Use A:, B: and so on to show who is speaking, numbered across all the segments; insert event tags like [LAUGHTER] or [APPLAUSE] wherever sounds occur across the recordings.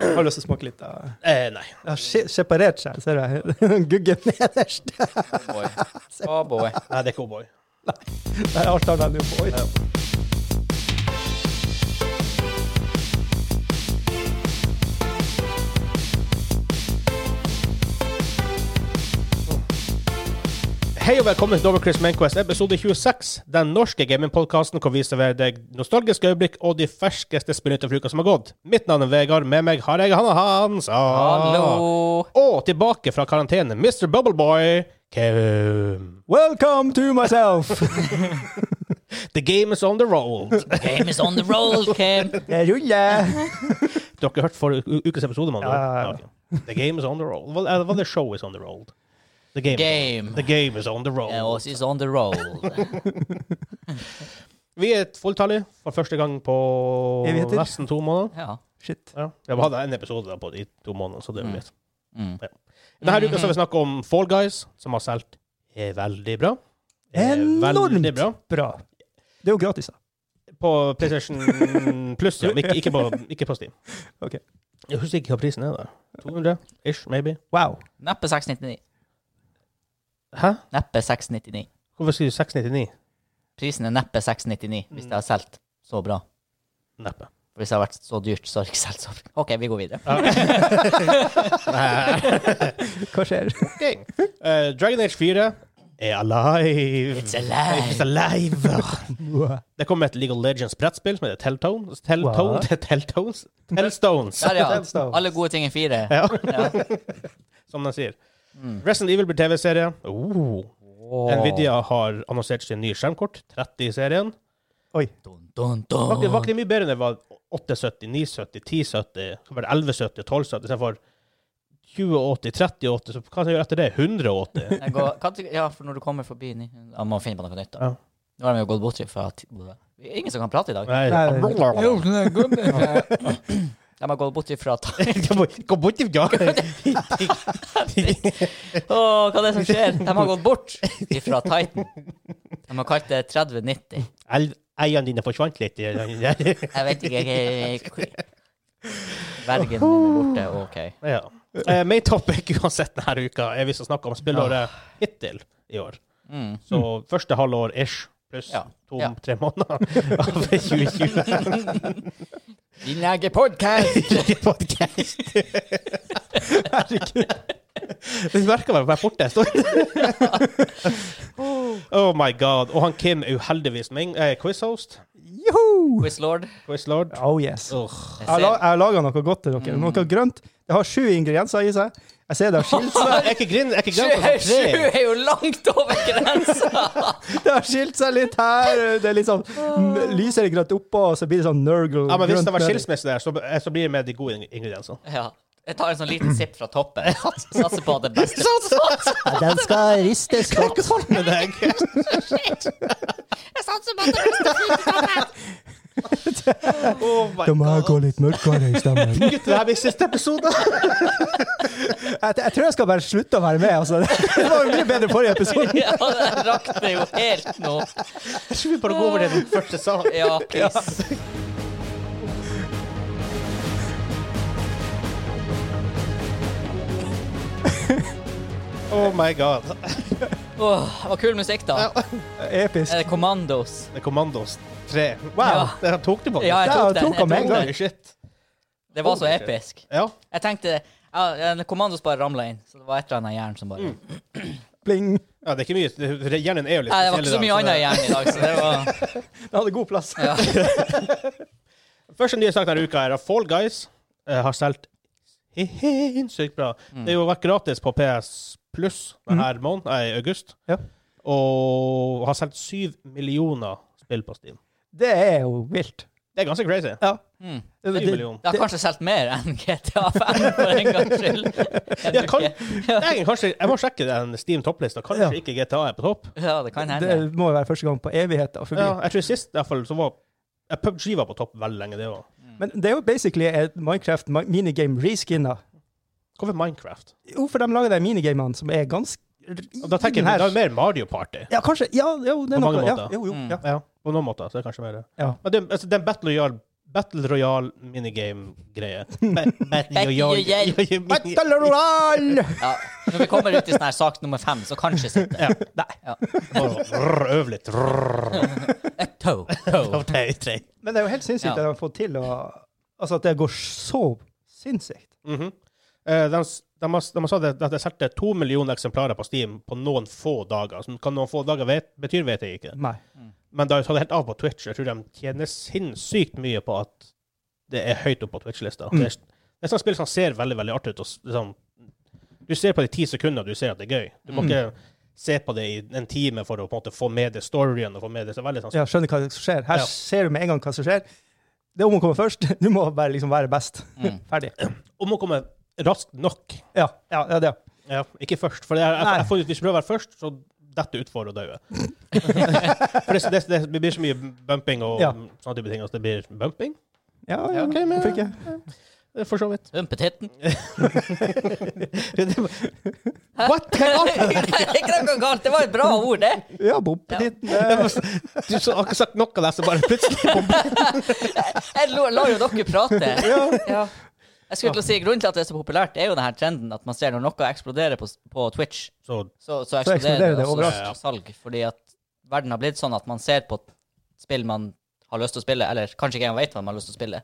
A: Har du lyst til å smake litt av
B: Eh, nei.
A: Det har ske- separert seg, ser jeg. [LAUGHS] Guggen nederst. [LAUGHS]
B: [LAUGHS]
C: Oh boy. Oh boy.
B: nei, det er ikke O'boy.
A: Der er alt annet enn O'boy.
B: Hei og velkommen til Dovercris Mainquest, episode 26. Den norske gamingpodkasten hvor vi serverer deg nostalgiske øyeblikk og de ferskeste spillnytt fra uka som har gått. Mitt navn er Vegard, med meg har jeg Hanna Hans.
C: Hallo.
B: Og tilbake fra karantene, Mr. Bubbleboy, Kevin.
A: Welcome to myself!
B: The game is on the roll.
A: [LAUGHS]
C: Game is on the
B: [LAUGHS]
C: roll, Kim.
A: Jeg ruller!
B: Dere har hørt forrige u- ukes episode? Man,
A: Ja, ja, ja.
B: The game is on the roll. Hva eh, hva er det show is on the roll? The game.
C: Game.
B: The game is on the roll.
C: Eh, Oss is on the roll.
B: Vi er fulltallige for første gang på
A: Evigheter.
B: nesten to måneder.
C: Ja.
A: Shit.
B: Ja. Jeg hadde en episode da på de to månedene, så det er jo
C: Mm.
B: greit.
C: Mm.
B: Denne uka skal vi snakke om Fall Guys, som har solgt eh, veldig bra. Eh, Veldig
A: Enormt.
B: bra.
A: Bra. Det er jo gratis, da.
B: På PlayStation Plus, ja. men Ikke, ikke, på, ikke på Steam.
A: Ok.
B: Jeg husker ikke hva prisen er der. 200 ish, maybe.
A: Wow.
C: Neppe 699.
B: Hæ?
C: Neppe 699.
B: Hvorfor skriver du 699?
C: Prisen er neppe 699 hvis det har solgt så bra.
B: Neppe.
C: For Hvis det har vært så dyrt, så har det ikke solgt så bra. OK, vi går videre.
A: Hva skjer? [LAUGHS]
B: Okay. Eh, Dragon Age 4 er alive.
C: It's alive.
B: It's alive. Det kommer et League of Legends-brettspill som heter Telltones. Telltone?
A: What?
B: Telltones? Tellstones,
C: Der, ja.
A: Tellstones.
C: Alle gode ting er fire.
B: Ja.
C: Ja.
B: som de sier.
C: Mm.
B: Resident Evil blir TV-serie. Oh. Nvidia har annonsert sin nye skjermkort, 30 i serien.
A: Oi.
C: Dun, dun,
B: Var ikke- var
C: dun.
B: ikke det mye bedre enn det var 870, 970, 1070, så var det 1170 og 1270 istedenfor 2080, 3080, så hva skal jeg gjøre etter det? 180?
C: Jeg går, kan, du- ja, for når du kommer forbi ni- ja, Man må finne på noe nytt, da.
B: Ja.
C: Nå har de jo gått bort fra ti- Det er Ingen som kan prate i dag.
B: Nei.
A: Nei.
C: De har gått bort fra ta-
B: [LAUGHS] Gå bort ifra
C: Åh, hva er det som skjer? De har gått bort fra Titan. De har kalt det 3090.
B: El- Eierne dine forsvant litt. i den der.
C: Jeg vet ikke jeg, Vergen min er borte. OK.
B: Ja. Eh, main topic uansett denne uka er vi skal snakke om spillåret hittil i år.
C: Mm.
B: Så første halvår ish, pluss
C: Ja. Ja.
B: to-tre måneder av [LAUGHS] 2020.
C: Vi lager podkast!
B: [LAUGHS] Podcast. Herregud. Det merker meg å være borte en [LAUGHS] stund. oh my god. Og han Kim er jo heldigvis min eh, quizhost.
A: Joho!
C: Quizlord.
B: Quizlord.
A: Oh yes.
B: Ugh.
C: Jeg
A: Jeg har la-
C: ser-
A: jeg har laga noe godt til dere. Noe grønt. Det har sju ingredienser i seg. Jeg ser det har skilt seg, [LAUGHS]
B: Er ikke grin- er ikke
C: Sju
B: grensa sånn
C: sju
B: tre?
C: er jo langt over grensa!
A: det har skilt seg litt her. Det er litt sånn m- lysere grønt oppå, og så blir det sånn nurgle.
B: Ja, men hvis
A: grønt
B: det var
A: nedi.
B: skilsmisse der, så, eh, så blir det med de gode ing- [LAUGHS] ingrediensene.
C: Ja. Jeg tar en sånn liten sipp fra toppen. Sats- Satser på det [LAUGHS] beste.
A: Ja, Den skal ristes [LAUGHS] godt.
B: Sånn med deg.
C: Jeg satser på det beste.
B: Oh my
A: Da må jeg gå litt mørkere i stemmen.
B: Gutter, det her blir siste episode.
A: Jeg, jeg tror jeg skal bare slutte å være med. Altså. [LAUGHS] Det var jo mye bedre forrige episode.
C: [LAUGHS] Ja, det rakner jo helt nå.
B: Jeg tror vi bare går over til den første sangen.
C: Ja, please.
B: Oh my god.
C: Åh, det var kul musikk, da. Er
A: Episk.
C: det Commandos?
B: Det er Commandos 3. Wow,
C: Ja.
B: det tok det på.
C: Ja, jeg
A: Ja, jeg
C: tok den.
A: tok den med
C: Jeg
A: en gang.
C: tok den.
B: Holy shit.
C: Det var så
B: Holy shit.
C: episk.
B: Ja.
C: Jeg tenkte ja, en Commandos bare ramla inn, så det var et eller annet i hjernen som
B: Mm.
C: bare Nei,
A: Pling.
B: ja, det er ikke mye. Det- det- Hjernen er jo litt
C: Det var ikke så mye
B: spesiell i dag,
C: annet i hjernen i dag, så det var
A: Den hadde god plass.
C: ja.
B: det- Første nye sak denne uka er at Fall Guys eh, har solgt sinnssykt bra.
C: Mm.
B: Det har jo vært gratis på PS Pluss denne
C: Mhm.
B: måneden, nei, i august,
A: [LAUGHS] Ja.
B: og har solgt syv millioner spill på Steam.
A: Det er jo vilt.
B: Det er ganske crazy.
A: Ja.
C: Mm.
B: Syv millioner.
C: Det har kanskje solgt mer enn GTA5, for en gangs skyld.
B: [LAUGHS]
C: Jeg
B: Ja, kan,
C: tror ikke-
B: det er egentlig kanskje, jeg må sjekke den Steam topplista. Kanskje
A: Ja.
B: ikke GTA er på topp?
C: Ja, det kan
A: Det
C: hende.
A: må jo være første gang på evigheter forbi.
B: Ja, jeg tror sist i hvert fall så var jeg PubG var på topp veldig lenge, det òg.
A: Men det er jo basically et Minecraft mi- minigame reskinna.
B: Hvorfor Minecraft?
A: Jo, for de lager de minigamene som er ganske
B: Og da tenker jeg
A: Her-
B: det er mer Mario Party.
A: Ja, kanskje. Ja, jo, det er noe.
B: På mange
A: Ja,
B: måter.
A: jo, jo,
C: Mm.
A: ja.
B: Ja, på noen måter så er det kanskje mer det.
A: Ja.
B: Men det, altså, den Battle Royale- Battle Royale minigame-greie.
A: [LAUGHS]
C: Battle Royale.
A: Battle Royale!
C: Ja. Når vi kommer ut i sånn her sak nummer fem, så kanskje sitter
B: Ja.
C: Nei. Ja.
B: Rrr, Øv litt. Rrr.
C: Et toe. toe.
B: Av tre, tre.
A: Men det er jo helt sinnssykt
C: Ja.
A: at de har fått til å Altså, at det går så sinnssykt.
B: Mhm. Eh, de, s- de, har, s- de har sagt at det er solgt to millioner eksemplarer på Steam på noen få dager. Som kan noen få dager vet, betyr, vet jeg ikke.
A: Nei.
B: Men det har tatt helt av på Twitch. Jeg tror de tjener sinnssykt mye på at det er høyt opp på Twitch-lista.
A: Mm.
B: Det er- det er sånne spill som ser veldig veldig artig ut. Og s- liksom, du ser på de ti sekundene du ser at det er gøy. Du må
A: Mm.
B: ikke se på det i en time for å på en måte få med det storyen. og få med det. Så det er veldig sånn
A: Ja, skjønner hva som skjer. Her
B: Ja.
A: ser du med en gang hva som skjer. Det er om å komme først. [LAUGHS] Du må bare liksom være best. [LAUGHS] Ferdig.
B: Om å komme raskt nok.
A: Ja, ja, ja det.
B: Ja, ikke først. For jeg, jeg,
A: Nei.
B: jeg får, hvis du prøver å være først, så detter du utfor
A: [LAUGHS]
B: og dauer. for det, det, det, blir så mye bumping og
A: Ja.
B: sånne type ting at det blir bumping.
A: Ja, ja,
C: Ja, ok,
B: men-
A: hvorfor ikke?
B: For så
A: [LAUGHS]
B: vidt.
C: Rumpetitten.
B: What?
C: [LAUGHS] Ikke noe galt. Det var et bra ord, det.
A: Ja, bompetitten. Ja.
B: Du så- har ikke sagt noe av det, så bare plutselig
C: Jeg lo- la jo dere prate. Ja. Jeg skulle til å si Grunnen til at det er så populært, er jo denne trenden at man ser når noe eksploderer på, s- på Twitch,
B: [LAUGHS] Så
C: så, så eksploderer
A: eksploderer
C: det
A: det
C: også
B: overalt.
C: salg. Fordi at verden har blitt sånn at man ser på spill man har lyst til å spille, eller kanskje ikke engang vet hva man har lyst til å spille.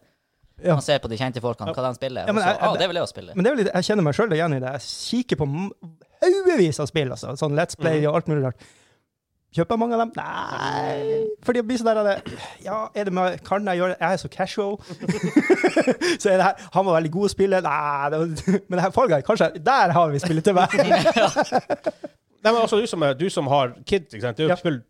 A: Ja.
C: Man ser på de kjente folkene, hva de spiller,
A: Ja, men
C: og så
A: jeg- jeg-
C: ah, det vil jeg også
A: [LAUGHS]
C: spille.
A: [LAUGHS] Men det er vel litt, jeg kjenner meg sjøl igjen i det. Jeg kikker på m- haugevis av spill, altså. Sånn Let's Play og alt mulig rart. Kjøper jeg mange av dem? Nei. Fordi jeg blir sånn der av det Ja, er det med, kan jeg gjøre det? Jeg er så casual. [LAUGHS] så er det her Han var veldig god å spille. Nei, det var, [LAUGHS] men det her Fall Guy, kanskje Der har vi spillet til meg!
B: Nei, men altså, du som, er, du som har kids, ikke sant? det er jo
A: Ja.
B: et spill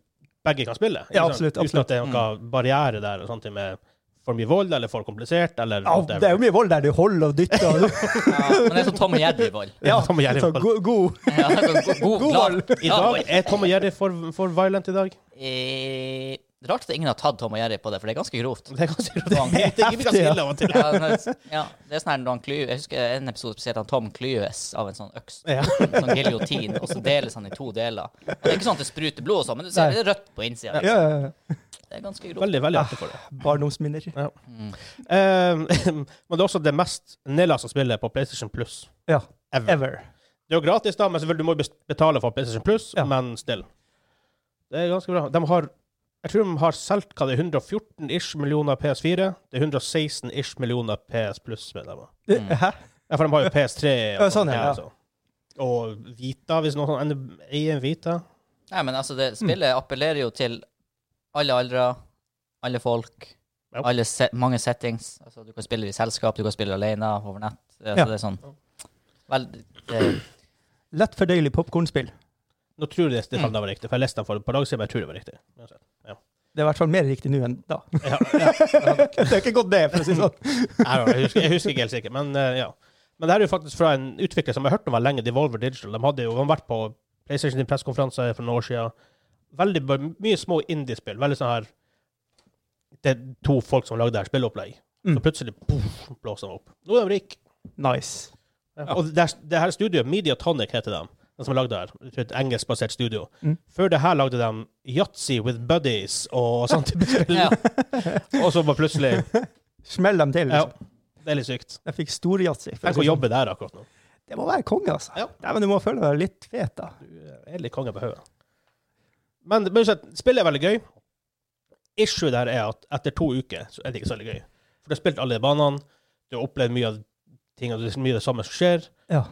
B: begge kan spille. ikke
A: Ja,
B: sant?
A: absolutt,
B: Uten at det er noen barriere der og sånt med for mye vold eller for komplisert eller
A: Ja, det er jo mye vold der. Du holder og dytter. Og [LAUGHS]
C: Ja, men det er sånn Tom og Jerry-vold.
B: Ja, [LAUGHS] Tom og Jerry.
A: Så god, god.
C: Ja, sånn go- god, glad,
A: vold.
B: I
C: glad
B: dag
C: vold.
B: er Tom og Jerry for, for violent i dag.
C: Eh, Rart at ingen har tatt Tom og Jerry på det, for det er ganske grovt.
B: Det er ganske [LAUGHS]
C: Det
B: Det er ganske
A: heftig, ja.
B: ille av og til.
C: Ja,
A: [LAUGHS]
C: men- ja, det er sånn her når han klyver Jeg husker en episode spesielt han Tom klyves av en sånn øks.
B: Ja.
C: En sånn giljotin, og så deles han i to deler. Og det er ikke sånn at det spruter blod og sånn, men du ser
A: Nei.
C: det er rødt på innsida.
A: Ja, ja, ja.
C: Det er ganske Mm. grovt.
B: Veldig, veldig
A: [LAUGHS]
B: artig for det.
A: Barndomsminner.
B: Ja. Eh, [LAUGHS] men det er også det mest nedlasta spillet på PlayStation Plus
A: Ja.
B: ever.
A: Ever.
B: Det er jo gratis, da, men selvfølgelig du må jo bes- betale for PlayStation Plus,
A: Ja.
B: men still. Det er ganske bra. De har jeg tror de har solgt hva det er 114-ish millioner PS4. Det er 116-ish millioner PS Plus-medlemmer.
A: Eh, Hæ?
B: Ja, for de har jo PS3 og,
A: [LAUGHS] Ja, sånn, ja, ja.
B: sånn. og Vita, hvis noen sånn eier en Vita.
C: Nei, men altså, det spillet appellerer jo til alle aldre, alle folk,
B: Ja.
C: alle se mange settings. Altså, du kan spille i selskap, du kan spille alene, over nett. Altså,
A: Ja.
C: Det er sånn Vel, det,
A: Lett fordøyelig popkornspill.
B: Nå tror jeg det, det var riktig, for jeg leste den for et par dager siden, men jeg tror det var riktig. Uansett. Ja.
A: Det er i hvert fall mer riktig nå enn da.
B: Ja, ja.
A: Det har ikke gått ned, for å si det sånn.
B: [LAUGHS] I don't know, Jeg husker, jeg husker ikke helt sikkert, men eh, ja. Men det her er jo faktisk fra en utvikler som jeg har hørt om var lenge, Devolver Digital. De hadde jo de har vært på PlayStation sin pressekonferanse for noen år siden. Veldig b- mye små indiespill. Veldig sånn her Det er to folk som lagde det her spillopplegg.
A: Mm.
B: Så plutselig poff, blåser de opp. Nå er de rike.
A: Nice.
B: Og det, her- det her studioet, Mediatonic heter de, de som har lagd det her. Det er Et engelskbasert studio.
A: Mm.
B: Før det her lagde de Yatzy with Buddies og sånn
A: [LAUGHS]
B: type spill.
C: ja.
B: Og så bare plutselig
A: Smell dem til.
B: Ja,
A: Liksom.
B: det er litt sykt.
A: Jeg fikk storjazzy.
B: Tenk å jobbe der akkurat nå.
A: Det må være konge, altså.
B: Ja.
A: Nei, men du må føle deg litt fet, da.
B: er litt konge på hodet. Men men uansett, spillet er veldig gøy. Issue der er at etter to uker så er det ikke så veldig gøy. For du har spilt alle de banene, du har opplevd mye av ting, og det er mye av det samme som skjer.
A: Ja.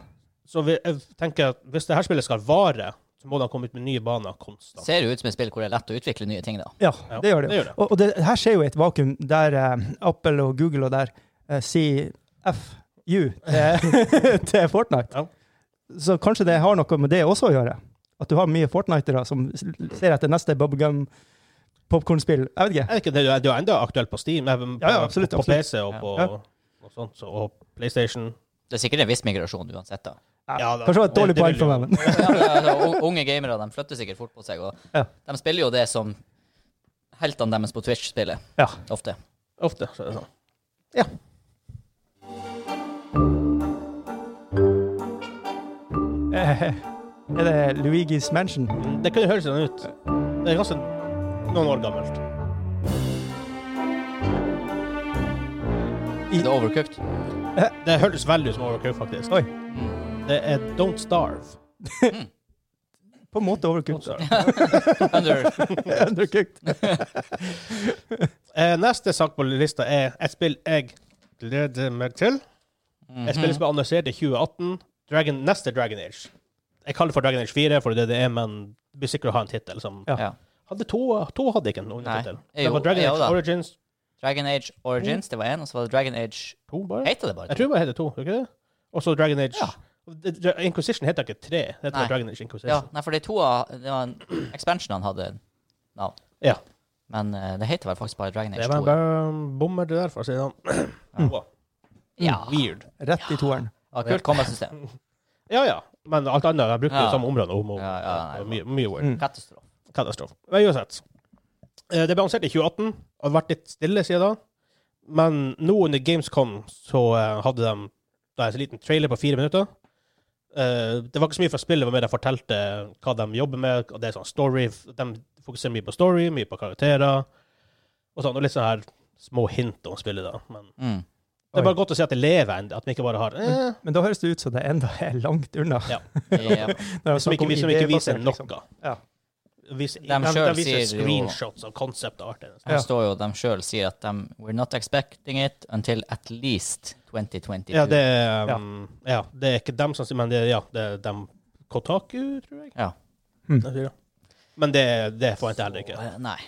B: Så vi, jeg tenker at hvis det her spillet skal vare, så må de komme ut med nye baner konstant.
C: ser jo ut som et spill hvor det er lett å utvikle nye ting, da.
A: ja,
B: Ja,
A: det gjør det.
B: det gjør det.
A: Og, og det, her skjer jo et vakuum der eh, Apple og Google og der eh, sier FU til, [LAUGHS] til Fortnite.
B: Ja.
A: Så kanskje det har noe med det også å gjøre? At du har mye Fortnitere som s- ser etter neste bubblegum popkornspill. Jeg vet ikke.
B: Er det ikke det? Det er jo enda aktuelt på Steam, eh, på,
A: Ja, ja, absolutt,
B: på, på
A: absolutt.
B: PC og på
A: Ja.
B: og sånt, så, og PlayStation.
C: Det er sikkert en viss migrasjon uansett, da.
B: Ja, da-
A: Kanskje det var et dårlig
B: det- det
A: poeng
B: vil
A: for meg,
B: jo-
A: men [LAUGHS]
C: Ja, men, altså, u- unge gamere de flytter sikkert fort på seg, og
A: Ja.
C: de spiller jo det som heltene deres på Twitch spiller,
A: ja. [LAUGHS]
C: ofte.
B: Ofte, så er det sånn.
A: Ja. Eh, Er det Luigi's Mansion?
B: Det kunne høres sånn ut. Det er ganske noen år gammelt.
C: det overcooked?
B: Eh, Det hørtes veldig ut som Overcooked, faktisk.
A: Oi.
B: Det er Don't Starve.
A: På en måte overcooked.
C: Under.
A: [LAUGHS] Undercooked.
B: Eh, neste sak på lista er et spill jeg gleder meg til.
C: Mhm.
B: Et spill som ble annonsert i 2018. Dragon, neste Dragon Age. Jeg kaller det for Dragon Age 4, for det er det det er, men det blir sikkert å ha en tittel som
A: Ja.
C: Ja.
B: Hadde to, to hadde ikke en
C: Nei.
B: tittel.
C: Jo,
B: Det var Dragon
C: jo
B: Age
C: da.
B: Origins
C: Dragon Age Origins, det var én, og så var det Dragon Age
B: 2, bare.
C: Heter det bare
B: Jeg tror det heter to, gjør ikke det? Og så Dragon Age
C: Ja.
B: Det- Dra- Inquisition heter ikke tre. Det heter
C: Nei.
B: Dragon Age Inquisition.
C: Ja, nei, for de to av det var en- expansionene hadde navn.
B: Ja.
C: Men eh, det heter vel faktisk bare Dragon Age
B: Det var
C: 2.
B: en bam- bommer, det der, for å si det sånn. [CLEARS THROAT] Wow.
C: Ja.
B: Weird.
A: Rett i toeren.
C: Ja, kult
B: [LAUGHS]
C: combat-system.
B: Ja, ja. Men alt annet Jeg brukte
C: Ja.
B: det samme området om og
C: Ja, ja, nei,
B: og mye, mye weird.
A: Mm.
C: Katastrofe.
B: Katastrofe. Men uansett. Eh, Det ble lansert i 2018 og har vært litt stille siden da. Men nå under Gamescom så eh, hadde de da en liten trailer på fire minutter. Eh, det var ikke så mye fra spillet, men mer de fortalte hva de jobber med. og det er sånn story, De fokuserer mye på story, mye på karakterer. Og sånn, og litt sånn her små hint om spillet. da. Men
C: Mm.
B: det er
A: Oi. Mm.
B: bare godt å se at det lever, en- at vi ikke bare har eh,
A: Men da høres det ut som det enda er langt unna.
B: Ja.
C: Ja.
A: Når
B: som ikke, som ikke viser
A: liksom.
B: [LAUGHS] noe.
A: Ja.
B: Viser, de,
C: De selv
B: viser
C: sier jo-
B: screenshots av concept art.
C: Her står jo de sjøl sier at de We're not expecting it until at least 2022.
B: Ja, det, er, um, ja. det er ikke dem sånn som sier, men det er, ja, det er dem Kotaku, tror jeg.
C: Ja.
A: Mm.
B: De sier det. Men det, det forventer jeg heller ikke.
C: Så, eh, Nei.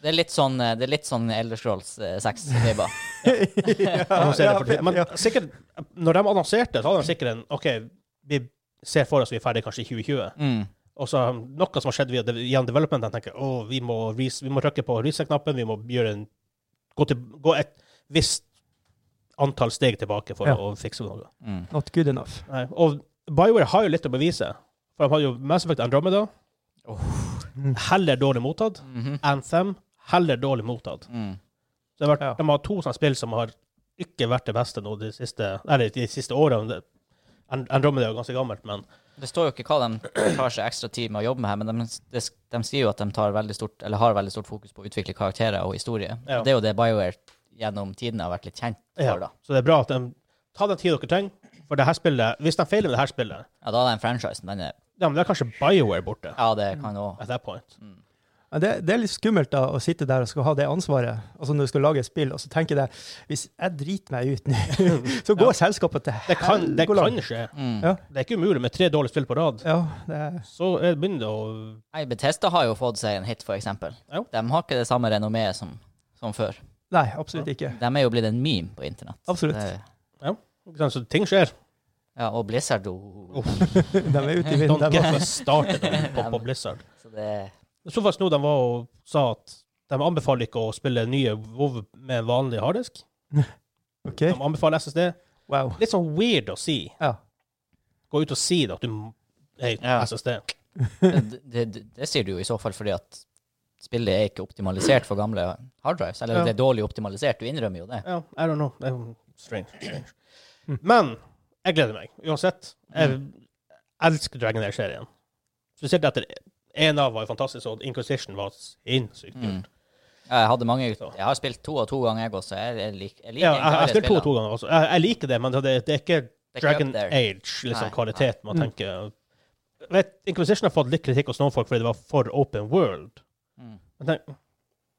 C: Det er litt sånn, eh, det er litt sånn Elderscrolls 6-vibber.
B: Annonserer
A: [LAUGHS]
B: for
A: ja,
B: tidlig. Men
A: ja.
B: sikkert, når de annonserte, så hadde de sikkert en OK, vi ser for oss vi er ferdig kanskje i 2020.
C: Mm.
B: Og så um, noe som har skjedd via, de- gjennom development. De tenker å, vi må, res- vi må trykke på reset-knappen, vi må gjøre en, gå, til, gå et visst antall steg tilbake for
A: Ja.
B: å fikse noe.
C: Mm.
A: Not good enough.
B: Nei. Og BioWare har jo litt å bevise. For de hadde jo Mass Effect Andromeda.
C: Oh.
B: Heller dårlig mottatt.
C: Mhm.
B: Anthem. Heller dårlig mottatt.
C: mm.
B: Så det har vært,
A: Ja.
B: De har to sånne spill som har ikke vært det beste nå de siste, eller de siste årene. Det- And- Andromeda er jo ganske gammelt, men
C: Det står jo ikke hva de tar seg ekstra tid med å jobbe med her, men de, de, de sier jo at de tar veldig stort, eller har veldig stort fokus på å utvikle karakterer og historie.
B: Ja.
C: Det er jo det BioWare gjennom tidene har vært litt kjent
B: Ja.
C: for. Da
B: Så det er bra at de tar den tida dere trenger. For det her spillet, hvis de feiler med det her spillet,
C: ja, da er den franchisen den er,
B: ja, men det er kanskje BioWare borte.
C: Ja, det kan òg
B: At that point.
A: Men det, det er litt skummelt da, å sitte der og skal ha det ansvaret, altså når du skal lage et spill, og så tenker jeg hvis jeg driter meg ut nå, [LAUGHS] så går selskapet til
B: Det kan, det
A: helgoland.
B: kan skje.
C: mm.
A: Ja.
B: Det er ikke umulig med tre dårlige spill på rad.
A: Ja, det er
B: Så er- begynner det å
C: Nei, Bethesda har jo fått seg en hit, for eksempel.
B: Jo.
C: De har ikke det samme renommeet som, som før.
A: Nei, absolutt ikke.
C: De er jo blitt en meme på internett.
A: Absolutt.
C: Det-
B: ikke sant, Så ting skjer.
C: Ja, og Blizzard oh.
A: [LAUGHS] De er ute i
B: Don't
A: vinden.
B: get
A: dem
B: me started on- [LAUGHS] på, på Blizzard.
C: Så det
B: Så fast nå de var og sa at de anbefaler ikke å spille nye WoW med vanlig harddisk.
A: også.
B: De
A: OK?
B: anbefaler SSD.
A: Wow.
B: Litt sånn weird å si.
A: Ja.
B: Gå ut og si det at du m- er
C: Ja.
B: SSD.
C: det, det, det, det sier du jo i så fall fordi at spillet er ikke optimalisert for gamle harddrives. Eller
A: Ja.
C: det er dårlig optimalisert, du innrømmer jo det.
B: Ja, I don't know. Det er jo strange. strange. Mm. Men jeg gleder meg uansett. Jeg elsker Dragon Air-serien. Spesielt etter en av var jo fantastisk, og Inquisition var sinnssykt
C: Mm.
B: kult.
C: Jeg hadde mange Jeg har spilt to og to ganger, jeg også. Jeg, jeg, lik, jeg liker
B: Ja, jeg,
C: egentlig
B: jeg har
C: alle
B: spilt to
C: spillene.
B: to ganger også. Jeg, jeg liker det, men det, det er ikke
C: Det er ikke
B: Dragon
C: up there.
B: Age, liksom
C: Nei,
B: kvalitet. Man
A: Mm.
B: tenker vet, Inquisition har fått litt kritikk hos noen folk fordi det var for open world.
C: Mm.
B: Men tenk,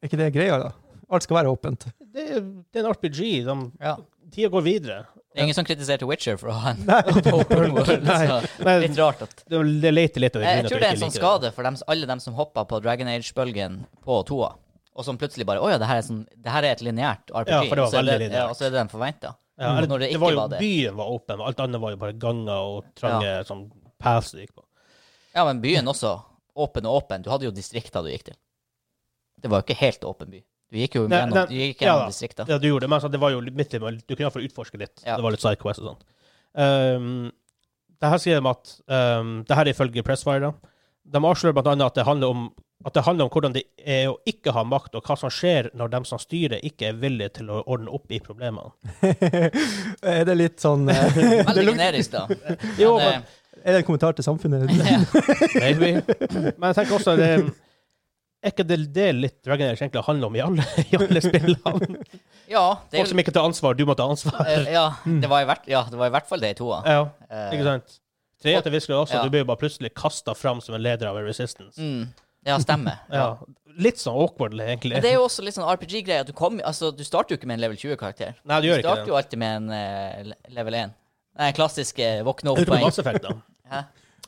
A: Er ikke det greia, da? Alt skal være åpent. [LAUGHS]
B: det, er- det er en RPG. De,
C: Ja.
B: tida går videre.
C: Det er ingen som kritiserte Witcher for å
B: [LAUGHS]
C: ha en open world. Så
B: Men
C: litt rart at
B: det det leter litt av
C: Jeg,
B: grunnen
C: jeg
B: at
C: tror
B: du
C: det er en
B: ikke liker
C: sånn skade for dem, alle dem som hoppa på Dragon Age-bølgen på toa, og som plutselig bare Å ja, det her er, sånn, det her er et lineært RPG.
B: Ja, for det var
C: og så er
B: veldig
C: Ja,
B: lineært.
C: og så er det de forventa.
B: Ja, eller,
C: Når det
B: det
C: ikke
B: var jo
C: var det.
B: byen var åpen, men alt annet var jo bare ganger og trange sånn paths du gikk på.
C: Ja, men byen også. Åpen og åpen. Du hadde jo distrikter du gikk til. Det var jo ikke helt åpen by. Du gikk jo
B: Nei,
C: gjennom,
B: nei,
C: du gikk
B: ja
C: gjennom
B: da.
C: distrikter.
B: Ja, du gjorde det, men sånn, det var jo litt midt i mellom- Du kunne iallfall utforske litt.
C: Ja.
B: Det var litt sidequest og sånt. Um, det her sier de at um, Det her er ifølge Pressfire. da. De avslører blant annet at det handler om at det handler om hvordan det er å ikke ha makt, og hva som skjer når de som styrer, ikke er villige til å ordne opp i problemene.
A: er det litt sånn eh,
C: Veldig generisk,
B: [LAUGHS]
C: da.
B: Jo, men-
C: Men, eh,
A: Er det en kommentar til samfunnet?
C: ja.
B: Maybe. [LAUGHS] Men jeg tenker også det, Er ikke det, det litt Dragon Age egentlig handler om i alle, i alle spillene?
C: [LAUGHS] Ja, [LAUGHS]
B: [LAUGHS]
C: det,
B: Folk som ikke tar ansvar, du må ta ansvar.
C: eh, ja, det var i hvert, ja, det var i hvert fall det i toa.
B: Ja,
C: Eh,
B: ikke sant? Tre etter visker også,
C: Ja.
B: du blir jo bare plutselig kasta fram som en leder av en Resistance.
C: Mm, ja, stemmer.
B: [LAUGHS] Ja. Litt sånn awkward, egentlig.
C: Men det er jo også litt sånn RPG-greie. at Du, kom- altså, du starter jo ikke med en level 20-karakter.
B: Nei, du
C: Du
B: gjør ikke
C: starter
B: det.
C: jo alltid med en eh, le- level 1. Nei, klassiske våkne
B: Du
C: opp-poeng.
B: Mass Effect, da.
C: Hæ?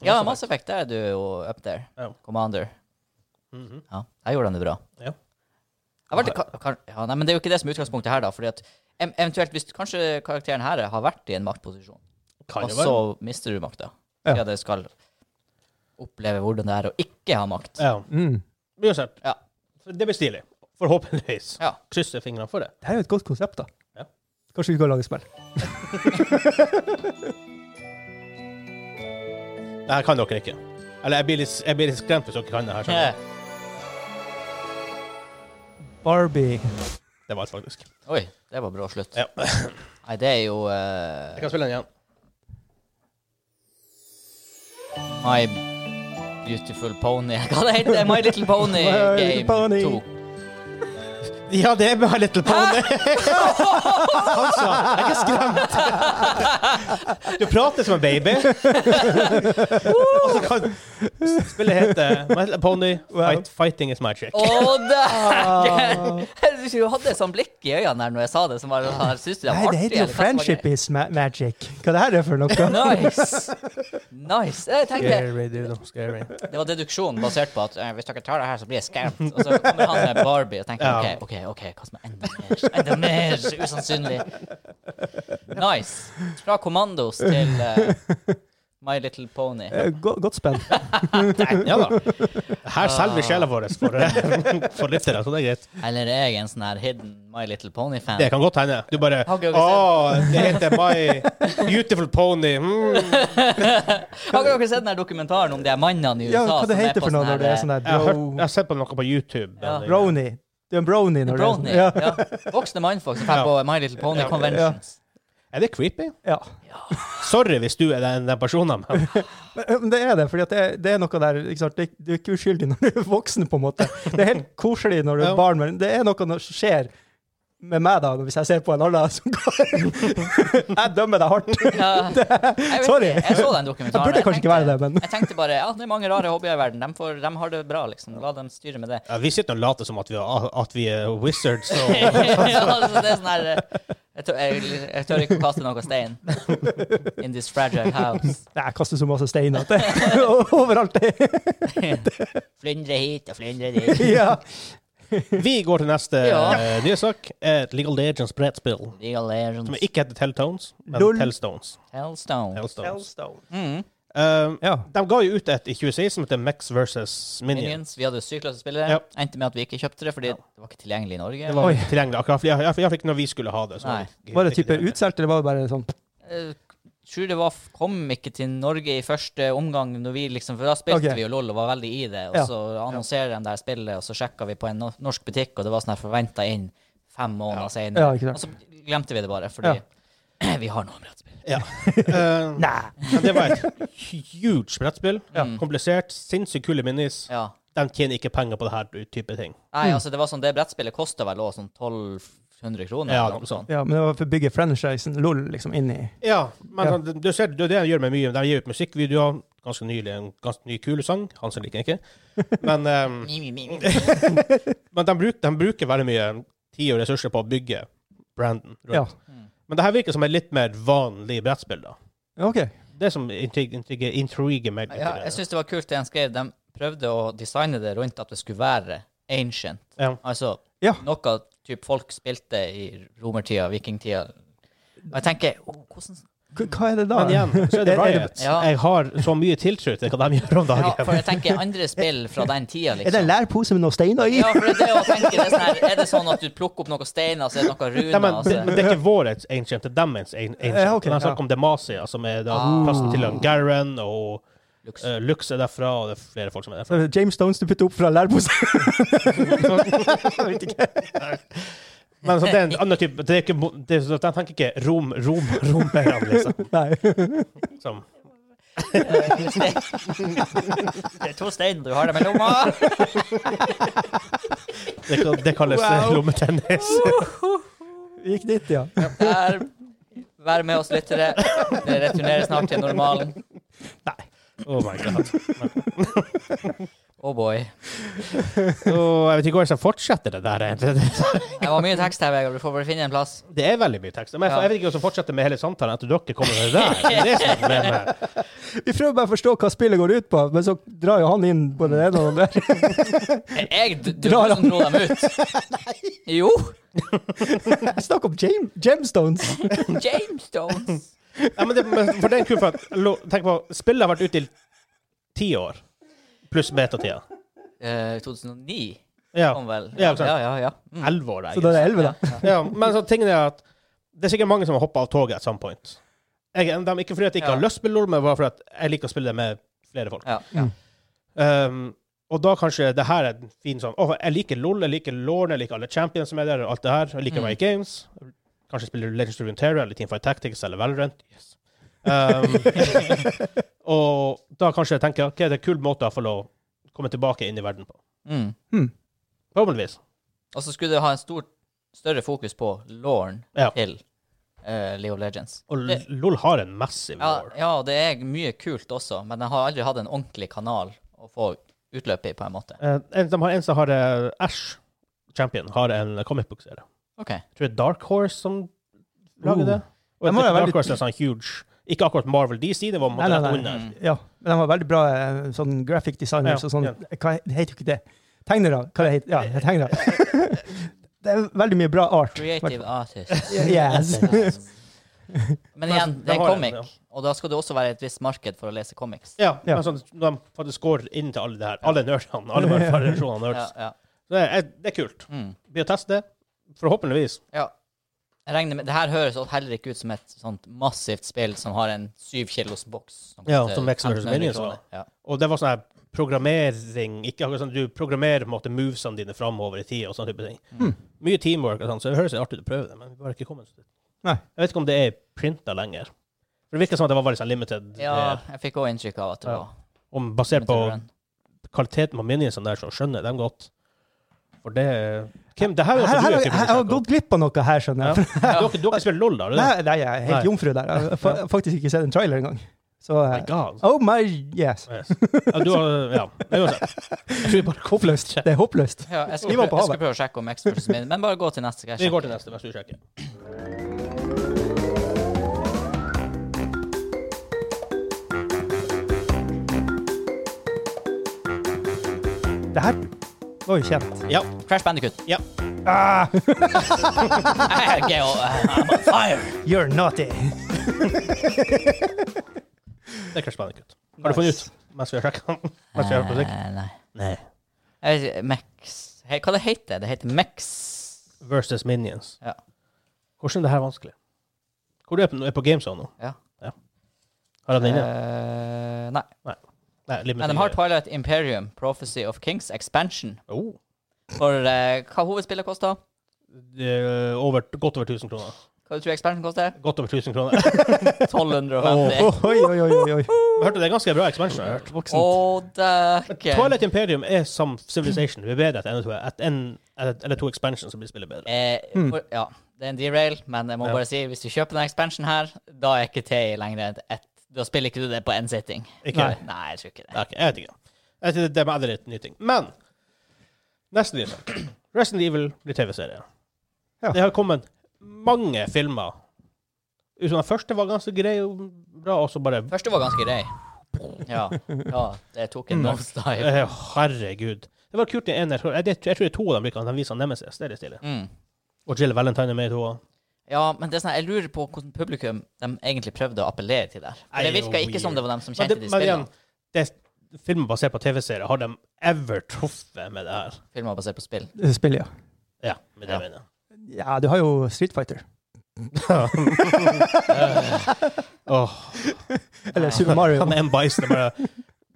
C: Ja,
B: Mass
C: Mass Effect, der er du jo up there.
B: Ja.
C: Commander.
B: Mhm.
C: Ja, der gjorde han det bra.
B: Ja.
C: Jeg ble, ka- ka- ja, nei, men det er jo ikke det som er utgangspunktet her, da. Fordi at em- eventuelt, hvis kanskje karakteren her har vært i en maktposisjon,
B: Kan
C: og
B: det være?
C: så mister du makta.
A: Ja.
C: Ja, det skal oppleve hvordan det er å ikke ha makt.
B: Ja.
A: Mm.
B: Uansett.
C: Ja.
B: Det blir stilig. Forhåpentligvis.
C: Ja.
B: Krysser fingrene for det.
A: Det her er jo et godt konsept, da.
B: Ja.
A: Kanskje vi kan lage spill.
B: Det her kan dere ikke. Eller jeg blir litt, jeg blir litt skremt hvis dere kan det her. skjønner
C: Ja.
B: du.
A: Barbie.
B: Det var alt, faktisk.
C: Eh, Oi, det var bra slutt.
B: Ja. Jeg
C: Nei, det er jo eh,
B: kan spille den igjen.
C: My Beautiful Pony [LAUGHS] Hva det heter det? My Little Pony
A: My Little
C: Game
A: Pony.
C: 2.
B: Ja, det er My Little [LAUGHS] Pony. Han sa Jeg er skremt. Du prater som en baby. Og så kan spillet heter My Little Pony Fight, Fighting is Magic.
C: Å, [LAUGHS] dæken! Du hadde sånn blikk i øynene der når jeg sa det, som var sånn Syns du det
A: Nei,
C: var artig?
A: det heter jo
C: eller hva som var
A: Friendship is ma magic. Hva det her er for noe?
C: greia? Nice. Nice. Jeg tenkte,
B: Scary, dude. Scary.
C: det var deduksjonen basert på at eh, hvis dere tar det her, så blir jeg skremt. Og så kommer han med Barbie og tenker
B: Ja.
C: OK, OK, ok, hva som er enda mer, enda mer usannsynlig? Nice. Fra Commandos til eh, My Little Pony.
A: Eh, go- Godt spill.
B: Nei, ja da. Her selger vi sjela vår for, [LAUGHS] for lyttere, så det er greit.
C: Eller er jeg en sånn her hidden My Little Pony-fan?
B: Det kan godt hende. Du bare
C: Har ikke dere
B: Å, det heter My Beautiful Pony. Mm.
C: Har dere sett den der dokumentaren om de her mannene i USA
A: Ja, hva det
C: som er
A: heter
C: på
A: for noe når det er sånn
C: her eh,
A: der
B: Jeg har, hørt, jeg
A: bro...
B: har sett på noe på YouTube.
C: Ja.
B: men-
A: Brony. Du er en brony når
C: Brony.
A: det
C: Ja.
A: er sånn.
C: Voksne mannfolk som drar på My Little Pony
B: Ja.
C: Conventions.
B: Er det creepy?
A: Ja. ja.
B: Sorry hvis du er den, den personen, men
A: Men, eh, Men det er det, for det, er- det er noe der ikke sant? Det, Du er ikke uskyldig når du er voksen, på en måte. Det er helt koselig når du
B: Ja.
A: er barn, men det er noe som skjer med meg, da, hvis jeg ser på en annen som går [LAUGHS] Jeg dømmer deg hardt.
C: Ja. Jeg vet
A: Sorry.
C: ikke, Jeg så den
A: Jeg
C: dokumentaren. og
A: burde
C: jeg
A: kanskje ikke være
C: tenkte-
A: det, men
C: Jeg tenkte bare ja, det er mange rare hobbyer i verden. De, får, de har det bra, liksom. La dem styre med
B: [LAUGHS]
C: det.
B: ja, vi sitter og later som at vi, er- at vi er wizards.
C: [LAUGHS]
B: Og,
C: ja, altså, det er sånn her eh, jeg tør, jeg, jeg tør ikke å kaste noe stein in this fragile house.
A: Nei, jeg kaster så masse stein at det [LAUGHS] overalt. det-
C: Flyndre hit og flyndre
B: [LAUGHS]
C: dit.
A: ja.
B: vi går til neste
C: Ja.
B: eh, nye sak. Eh, Legal Legends brettspill.
C: Legal
B: Som
C: Legends,
B: ikke heter Telltones, men
A: Lol.
B: Tellstones.
C: sånn Hellstone.
B: Tellstones.
C: Mm.
B: Eh,
A: Ja.
B: de ga jo ut et i 2016 som heter Max versus Minion.
C: Minions. Vi hadde syv klassespillere.
B: Ja.
C: Endte med at vi ikke kjøpte det, fordi det var ikke tilgjengelig i Norge.
B: Det var
A: Oi.
B: tilgjengelig akkurat, for jeg, jeg, jeg fikk når vi skulle ha det. så-
C: Nei.
A: Var det type utsolgt, eller var det bare sånn
C: Eh, tror det var, kom ikke til Norge i første omgang, når vi liksom, for da spilte
A: Ok.
C: vi jo LOL og var veldig i det. Og
A: Ja.
C: så annonserer de det her spillet, og så sjekka vi på en no- norsk butikk, og det var sånn her forventa inn fem måneder senere.
A: Ja, ikke
C: Og
A: sant.
C: så glemte vi det bare, fordi [CLEARS THROAT] vi har noen brettspill.
A: [LAUGHS]
B: Eh,
A: Nei.
B: Men det var et huge brettspill.
C: Ja.
B: Komplisert, sinnssykt kule minis.
C: Ja.
B: De tjener ikke penger på det her type ting.
C: Nei, altså, det var sånn, det brettspillet kosta vel også sånn 1200 kroner.
B: Ja,
C: eller noe
B: noe sånt.
A: Ja, men det var sånn. for å bygge franchisen LOL liksom inn i
B: Ja, men
A: Ja.
B: Du, du ser, det, er det de gjør med mye. De gir ut musikkvideoer. Ganske nylig en ganske ny kul sang. Han som liker den ikke. Men,
C: [LAUGHS]
B: ehm,
C: Mi, mi, mi, mi.
B: men de, bruk, de bruker veldig mye tid og ressurser på å bygge branden.
A: Ja.
B: rundt. Men det her virker som et litt mer vanlig brettspill, da.
A: Ja, OK.
B: Det som intrig- intrig- intriger meg. litt
C: Ja,
B: grann.
C: jeg syns det var kult det han skrev. De prøvde å designe det rundt at det skulle være ancient.
B: Ja.
C: Altså
A: Ja.
C: noe typ folk spilte i romertida, vikingtida. Og jeg tenker oh, hvordan
A: K hva er det da?
B: Men igjen, så er det
A: [LAUGHS] Er- er det-
B: Riot. liksom.
C: Ja.
B: Jeg har så mye tiltro til hva de gjør om
C: ja,
B: dagen.
C: For jeg tenker andre spill fra den tida,
A: Er det en
C: liksom.
A: lærpose med noen steiner i?
C: Ja, for det er det å tenke det er sånn her, Er det sånn at du plukker opp noen steiner, så er det noen
B: Nei, men,
C: runer?
B: det,
C: Altså.
B: men det er ikke vår ancient, det er deres an- ancient.
A: Ja, ok,
B: De
A: ja.
B: snakker om Demacia, som er da
C: Ah.
B: plassen til han Garen, og
C: Lux.
B: eh, Lux er derfra, og det er flere folk som er
A: [LAUGHS]
B: derfra.
A: Så er det James Stones du putter opp fra
B: [LAUGHS]
A: lærpose?
B: Men så det [LAUGHS] er en annen type det er ikke, mo- det er, så De tenker ikke rom, rom, romerne, liksom.
A: Nei.
B: Som,
C: [LAUGHS] Det er to steiner, du har dem i lomma!
B: det, kan- det kalles
A: Wow.
B: eh, lommetennis.
A: Vi gikk dit, ja.
C: Der, vær med oss, lyttere. Det returnerer snart til normalen.
B: Oh my god.
C: Oh boy.
B: Og Oh, jeg vet ikke hvordan jeg fortsetter det der. Det-
C: Det var mye tekst her, Vegard. Du får bare finne en plass.
B: [LAUGHS] Det er veldig mye tekst. Men jeg,
C: Ja.
B: jeg vet ikke hvordan jeg fortsetter med hele samtalen etter dere kommer med det der. Det er det som er problemet her.
A: Vi prøver bare å forstå hva spillet går ut på, men så drar jo han inn på det ene og det andre. [LAUGHS]
C: Jeg du, du
A: Drar
C: som dro dem ut. [LAUGHS] Jo.
A: Jeg snakker om gem gemstones.
C: James Jones.
B: Ja, men det, men for den kuffen, tenk på, spillet har vært ute i ti år, pluss betatida.
C: Eh, 2009
B: Ja,
C: kom vel.
B: Ja, ikke sant.
C: ja, ja. ja. Mm.
B: elleve år,
A: Så da er
B: egentlig.
A: det elleve, da.
B: Ja, men så tingen er at det er sikkert mange som har hoppa av toget at some point. Jeg, er en av dem, ikke fordi at jeg ikke
C: Ja.
B: har lyst til å spille LOL, men bare fordi at jeg liker å spille det med flere folk.
C: Ja.
B: Um, og da kanskje det her er en fin sånn Å, jeg liker LOL, jeg liker Lorne, jeg liker alle champions som er der, og alt det her. Jeg liker
C: Mm.
B: Riot Games. Kanskje spiller Legends of Runeterra eller Teamfight Tactics eller Valorant. Yes. Um,
C: [LAUGHS]
B: og da kanskje jeg tenker OK, det er en kul måte å få lov å komme tilbake inn i verden på.
C: Mm.
B: Forhåpentligvis.
C: Og så skulle det ha en stor, større fokus på lauren
B: Ja.
C: til eh, League of Legends.
B: Og
C: Det-
B: LOL har en massiv
C: Ja,
B: lore.
C: ja, det er mye kult også, men jeg har aldri hatt en ordentlig kanal å få utløp i, på en måte.
B: Eh, en, de har en som har eh, Ash, champion, har en comic book-serie.
C: OK.
B: Jeg tror det er Dark Horse som lager
A: Oh.
B: det.
A: De
B: Og jeg
A: har
B: tror
A: jo veldig-
B: Dark Horse er sånn huge. Ikke akkurat Marvel DC, det var på en
A: Nei,
B: måte
A: nei,
B: rett
A: nei.
B: under.
C: Mm.
A: Ja, men de var veldig bra eh, sånn graphic designers
B: Ja,
A: og sånn.
B: ja.
A: Hva det heter jo ikke det? Tegnere? Hva det heter? Ja, tegnere. [LAUGHS] det er veldig mye bra art.
C: Creative
B: [LAUGHS]
C: artist.
A: Yes.
C: Men igjen,
B: de
C: det er en
B: har en,
C: comic, og da skal det også være et visst marked for å lese comics.
B: Ja,
A: Ja.
B: men sånn, når de faktisk går inn til alle det her. Alle nerdene.
A: [LAUGHS]
B: Alle bare variasjoner av
C: Ja,
B: nerds.
C: ja.
B: Så det er, det er kult.
C: Mm.
B: Blir å teste det. Forhåpentligvis.
C: ja. Jeg regner med, Det her høres også heller ikke ut som et sånt massivt spill som har en syv kilos boks. som
B: Ja,
C: koster
B: som Xbox
C: 1500
B: Minions
C: kroner.
B: var.
C: Ja.
B: Og det var sånn her programmering Ikke akkurat sånn, Du programmerer på en måte movesene dine framover i tid og sånne type ting.
A: Mm.
B: Mye teamwork og sånn, så det høres artig ut å prøve det, men vi har ikke kommet så dit.
A: Nei.
B: Jeg vet ikke om det er printa lenger. For Det virker som at det var veldig sånn limited.
C: ja,
B: eh,
C: jeg fikk òg inntrykk av at det
B: Ja.
C: var
B: Om, basert på
C: Meteor Run.
B: kvaliteten på minionsene der, så skjønner jeg dem godt. For det Kim, det her er
A: Her,
B: jo
A: her,
B: også
A: har
B: du
A: vi-
B: er
A: her, jeg har gått glipp av noe her, skjønner jeg.
B: Dere, dere spiller LOL, da? Nei.
A: Nei, nei, jeg er helt
B: Nei.
A: jomfru der. Jeg har fa- faktisk ikke sett en trailer engang. Så
B: My
A: eh,
B: God.
A: Oh my Yes.
B: Yes. Ja, du har, ja. Men uansett. Jeg tror bare
A: Håpløst. Det er håpløst.
C: Ja, jeg skal,
A: Vi var på
C: prøve, jeg
A: havet.
C: skal prøve å sjekke om Xbox min, men bare gå til neste. skal jeg
B: Vi går
C: sjekke.
B: til neste, mens du sjekker.
A: Det her var jo kjent.
B: Ja.
C: Crash
B: [LAUGHS]
C: Bandicoot.
B: ja.
A: Ah,
C: Jeg er jo- I'm on fire.
A: you're naughty.
B: Det er Crash Bandicoot. Har du funnet ut mens vi har sjekka? [LAUGHS] Mens vi har hørt musikk?
C: Eh, Nei.
B: Nei.
C: Jeg vet ikke, Mex He, Hva det heter det? heter Mex.
B: Versus Minions.
C: Ja.
B: Hvordan er det her vanskelig? Hvor du er på, er på Gamezone nå?
C: Ja.
B: Har jeg den inne?
C: Eh, nei.
B: Nei,
C: Men de har Twilight Imperium, Prophecy of Kings, Expansion.
B: oh.
C: For eh, hva hovedspillet koster?
B: Det er over, Godt over 1000 kroner.
C: Hva du tror Expansion
B: [LAUGHS]
C: koster?
B: Godt over 1000 kroner.
C: 1250.
A: Oh, [LAUGHS] oi, oi, oi, oi.
B: Jeg hørte det er ganske bra expansion. Jeg har hørt.
C: Å, dæken.
B: Twilight Imperium er som Civilization. Vi er bedre etter en, og to- at en- eller- eller to expansions, så blir spillet bedre.
C: Eh, for, ja, det er en derail, men jeg må
B: Hmm. Ja.
C: bare si hvis du kjøper den expansion her, da er ikke TI lenger enn ett. Da spiller ikke du det på én sitting.
B: Ikke
C: Nei.
B: det?
C: nei, jeg tror ikke det.
B: Nei, ok, jeg vet ikke. Jeg vet, ikke, det er bare litt ny ting. Men neste nyhet. [CLEARS THROAT] Resident Evil blir TV-serie.
A: Ja.
B: Det har kommet mange filmer. Utenom den første var ganske grei og bra, og så bare
C: Første var ganske grei. Ja, ja det tok en nose-dive.
B: eh, Herregud. Det var kult i en, jeg tror, jeg, jeg tror det er to av dem bruker, de viser Nemesis, det er det stille.
C: Mm.
B: Og Jill Valentine er med i to også.
C: Ja, men det er sånn, jeg lurer på hvordan publikum de egentlig prøvde å appellere til der. For
B: Nei,
C: det virka
B: jo,
C: ikke som
B: oh, weird.
C: det var dem som
B: Men,
C: kjente
B: det,
C: de
B: men igjen,
C: spillene.
B: det er filmer basert på TV-serier. Har de ever truffet med det her?
C: Filmer basert på spill.
A: Spill, Eh, ja.
B: Ja, med det
C: Ja.
B: mener jeg.
A: Ja, du har jo Street Fighter.
B: [LAUGHS] Åh,
A: Eller Super Mario.
B: han er en bison. Bare,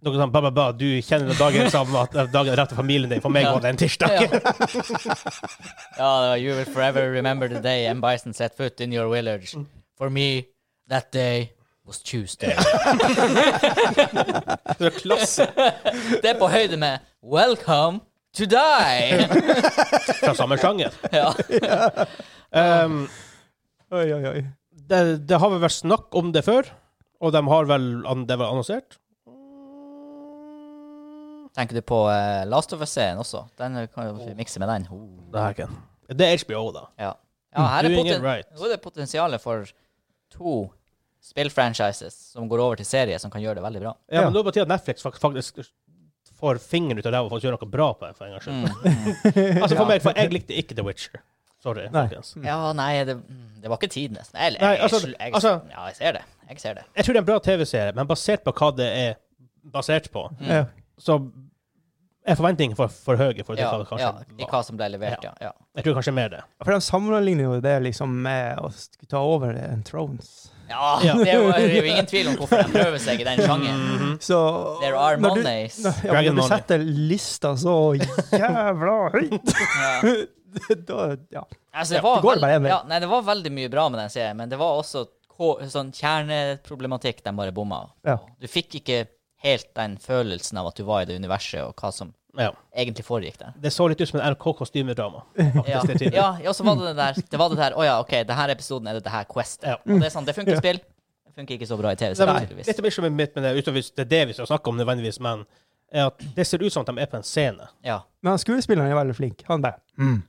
B: noe sånn, ba, ba, ba, du kjenner den dagen sammen at eh, dagen rett til familien din. For meg
C: Ja.
B: var [LAUGHS] det en tirsdag.
C: Ja. [LAUGHS] Ja, det var You will forever remember the day M. Bison set foot in your village. For me, that day was Tuesday. [LAUGHS]
B: Det er klasse
C: Det er på høyde med Welcome to die! [LAUGHS]
B: fra samme sjanger.
C: Ja.
B: Um,
A: Oi, oi, oi.
B: det, det har vel vært snakk om det før, og de har vel, an- det er vel annonsert. Mm.
C: Tenker du på eh, Last of Us-serien også? Den uh, kan jo vi mikse med den. Oh.
B: Det er, ikke. det er HBO, da.
C: Ja. ja her er
B: Doing it
C: poten
B: right.
C: nå er det potensialet for to spillfranchises som går over til serie, som kan gjøre det veldig bra.
B: Ja,
A: Ja.
B: men nå er det på tide at Netflix fak- faktisk får fingeren ut av ræva og faktisk gjør noe bra på det. For en gangs skyld. Altså for meg, for jeg likte ikke The Witcher. Sorry.
A: Nei.
B: folkens.
C: Ja, nei, det, mm, det var ikke tidenes. Nei, eller,
B: Nei,
C: jeg,
B: altså,
C: jeg, jeg,
B: altså-
C: ja, jeg ser det. Jeg ser det.
B: Jeg tror det er en bra TV-serie, men basert på hva det er basert på,
A: Ja.
B: så er forventningene for, for høye. For
C: Ja,
B: det hva det kanskje
C: ja, I
B: var.
C: hva som ble levert, ja. ja.
B: Jeg tror kanskje mer det.
A: For de sammenligner jo det liksom med å skulle ta over en Thrones.
C: Ja,
B: Ja.
C: det er jo, det er jo ingen tvil om hvorfor de prøver seg i den sjangeren.
A: Så
C: There are
A: Mm. når du-
C: monies.
A: Når, ja,
B: Dragon
A: men når du
B: money.
A: setter lista så jævla [LAUGHS] høyt,
C: Ja.
A: da ja.
C: Altså, det,
A: Ja,
C: var
A: det går
C: veld-
A: bare en vei.
C: ja, nei, det var veldig mye bra med den serien, men det var også ko- sånn kjerneproblematikk de bare bomma.
A: ja.
C: Du fikk ikke helt den følelsen av at du var i det universet, og hva som
B: Ja.
C: egentlig foregikk der.
B: Det så litt ut som en NRK-kostymedrama.
C: Ja,
B: faktisk, til tider.
C: ja, ja, så var det det der Det var det der, å ja, OK, det her episoden er det det her Quest.
B: Ja.
C: Og det er sånn, det funker i spill. Det funker ikke så bra i
B: Det
C: TV-serier,
B: er
C: tydeligvis.
B: litt av problemet mitt med det, utover hvis det er det vi skal snakke om nødvendigvis, men er at det ser ut som at de er på en scene.
C: Ja.
A: Men han skuespilleren er veldig flink. Han bare mm.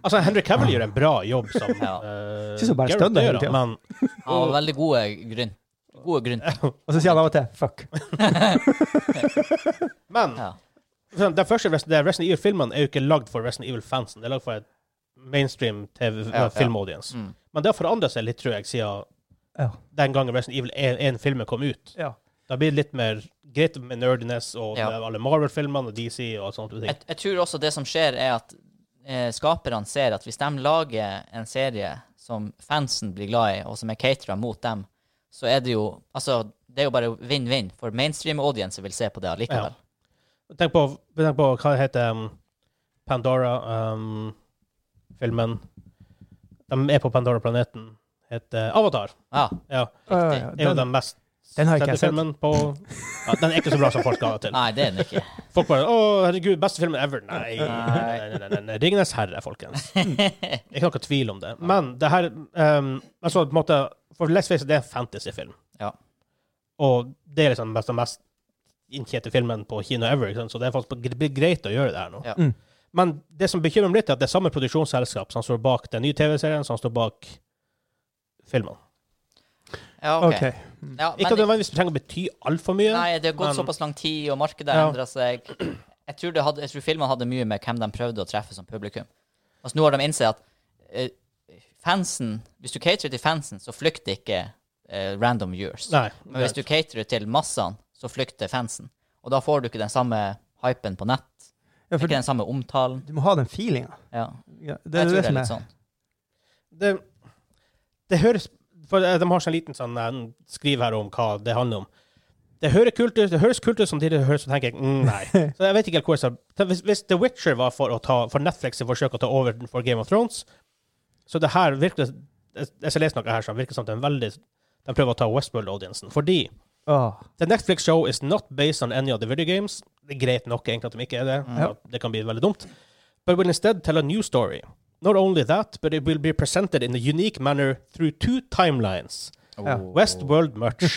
B: Altså, Henry Cavill gjør en bra jobb som
C: Ja.
B: eh,
A: Synes han bare
B: Geralt
A: stønner hele
B: gjør,
A: tiden.
B: Men
C: Han var veldig gode grunn. Gode grunn.
A: Og så sier han av og til 'fuck'.
B: Men
C: Ja.
B: sånn, den første Resident, de Resident Evil-filmene er jo ikke lagd for Resident Evil-fansen. Det er lagd for et mainstream TV,
C: Ja, ja.
B: film-audience.
C: Mm.
B: Men det har forandra seg litt, tror jeg, siden
A: Ja.
B: den gangen Resident Evil 1-filmen kom ut.
A: Ja.
B: Da blir det litt mer greit med nerdiness og
C: Ja.
B: med alle Marvel-filmene og DC og alt sånt.
C: Jeg, jeg tror også det som skjer, er at eh, skaperne ser at hvis de lager en serie som fansen blir glad i, og som er catera mot dem, så er det jo Altså, det er jo bare vinn-vinn, for mainstream audience vil se på det allikevel.
B: Tenk på, tenk på hva heter um, Pandora-filmen. de er på Pandora-planeten. Heter Avatar.
C: Ja.
B: Ja,
A: Ja, ja,
B: er jo
A: den-
B: den mest
A: den har ikke jeg
B: sette filmen på ja, Den er ikke så bra som folk skal ha det til.
C: Nei, det er den ikke.
B: Folk bare 'Å, herregud, beste filmen ever'. Nei. nei, nei, nei, nei, nei. 'Ringenes herre',
C: [LAUGHS]
B: folkens. Ikke noe tvil om det. Men det her ehm, altså, på en måte, For let's face it, det er en fantasyfilm.
C: Ja.
B: Og det er liksom mest, den mest inntjente filmen på kino ever, ikke sant? så det er faktisk gre- greit å gjøre det her nå.
C: Ja.
A: Mm.
B: Men det som bekymrer meg litt, er at det er samme produksjonsselskap som står bak den nye TV-serien, som står bak filmene.
C: Ja, OK.
A: OK.
C: Ja,
B: Ikke at det
C: men,
B: nødvendigvis trenger å bety altfor mye.
C: nei, det har gått
B: men-
C: såpass lang tid, og markedet har
B: Ja.
C: endra seg. Jeg tror, det hadde, jeg tror filmene hadde mye med hvem de prøvde å treffe som publikum. Altså, nå har de innsett at eh, fansen Hvis du caterer til fansen, så flykter ikke eh, random viewers.
B: Nei,
C: Men hvis du caterer til massene, så flykter fansen. Og da får du ikke den samme hypen på nett.
A: Ja, for
C: Ikke den samme omtalen.
A: du må ha den feelinga.
C: Ja.
A: Ja, det
C: Jeg
A: er
C: tror
A: det
C: det er
A: som
C: litt
A: er
C: sånn.
B: det, det høres For de har sånn liten sånn eh, skriv her om hva det handler om. Det, hører kult ut, det høres kult ut, samtidig høres, så tenker jeg mm, nei. Så jeg vet ikke helt hvor jeg skal Så hvis, hvis The Witcher var for, å ta, for Netflix å forsøke å ta over for Game of Thrones, så det her virker Jeg jeg skal lese noe her som virker som det er en veldig De prøver å ta Westworld-audiencen. Fordi
A: Åh.
B: The Netflix show is not based on any of the video games. Det er greit nok egentlig at de ikke er det.
C: Mm.
B: Ja, Det kan bli veldig dumt. But will instead tell a new story. Not only that, but it will be presented in a unique manner through two timelines.
A: Ja.
C: Åh.
B: Westworld much. [LAUGHS]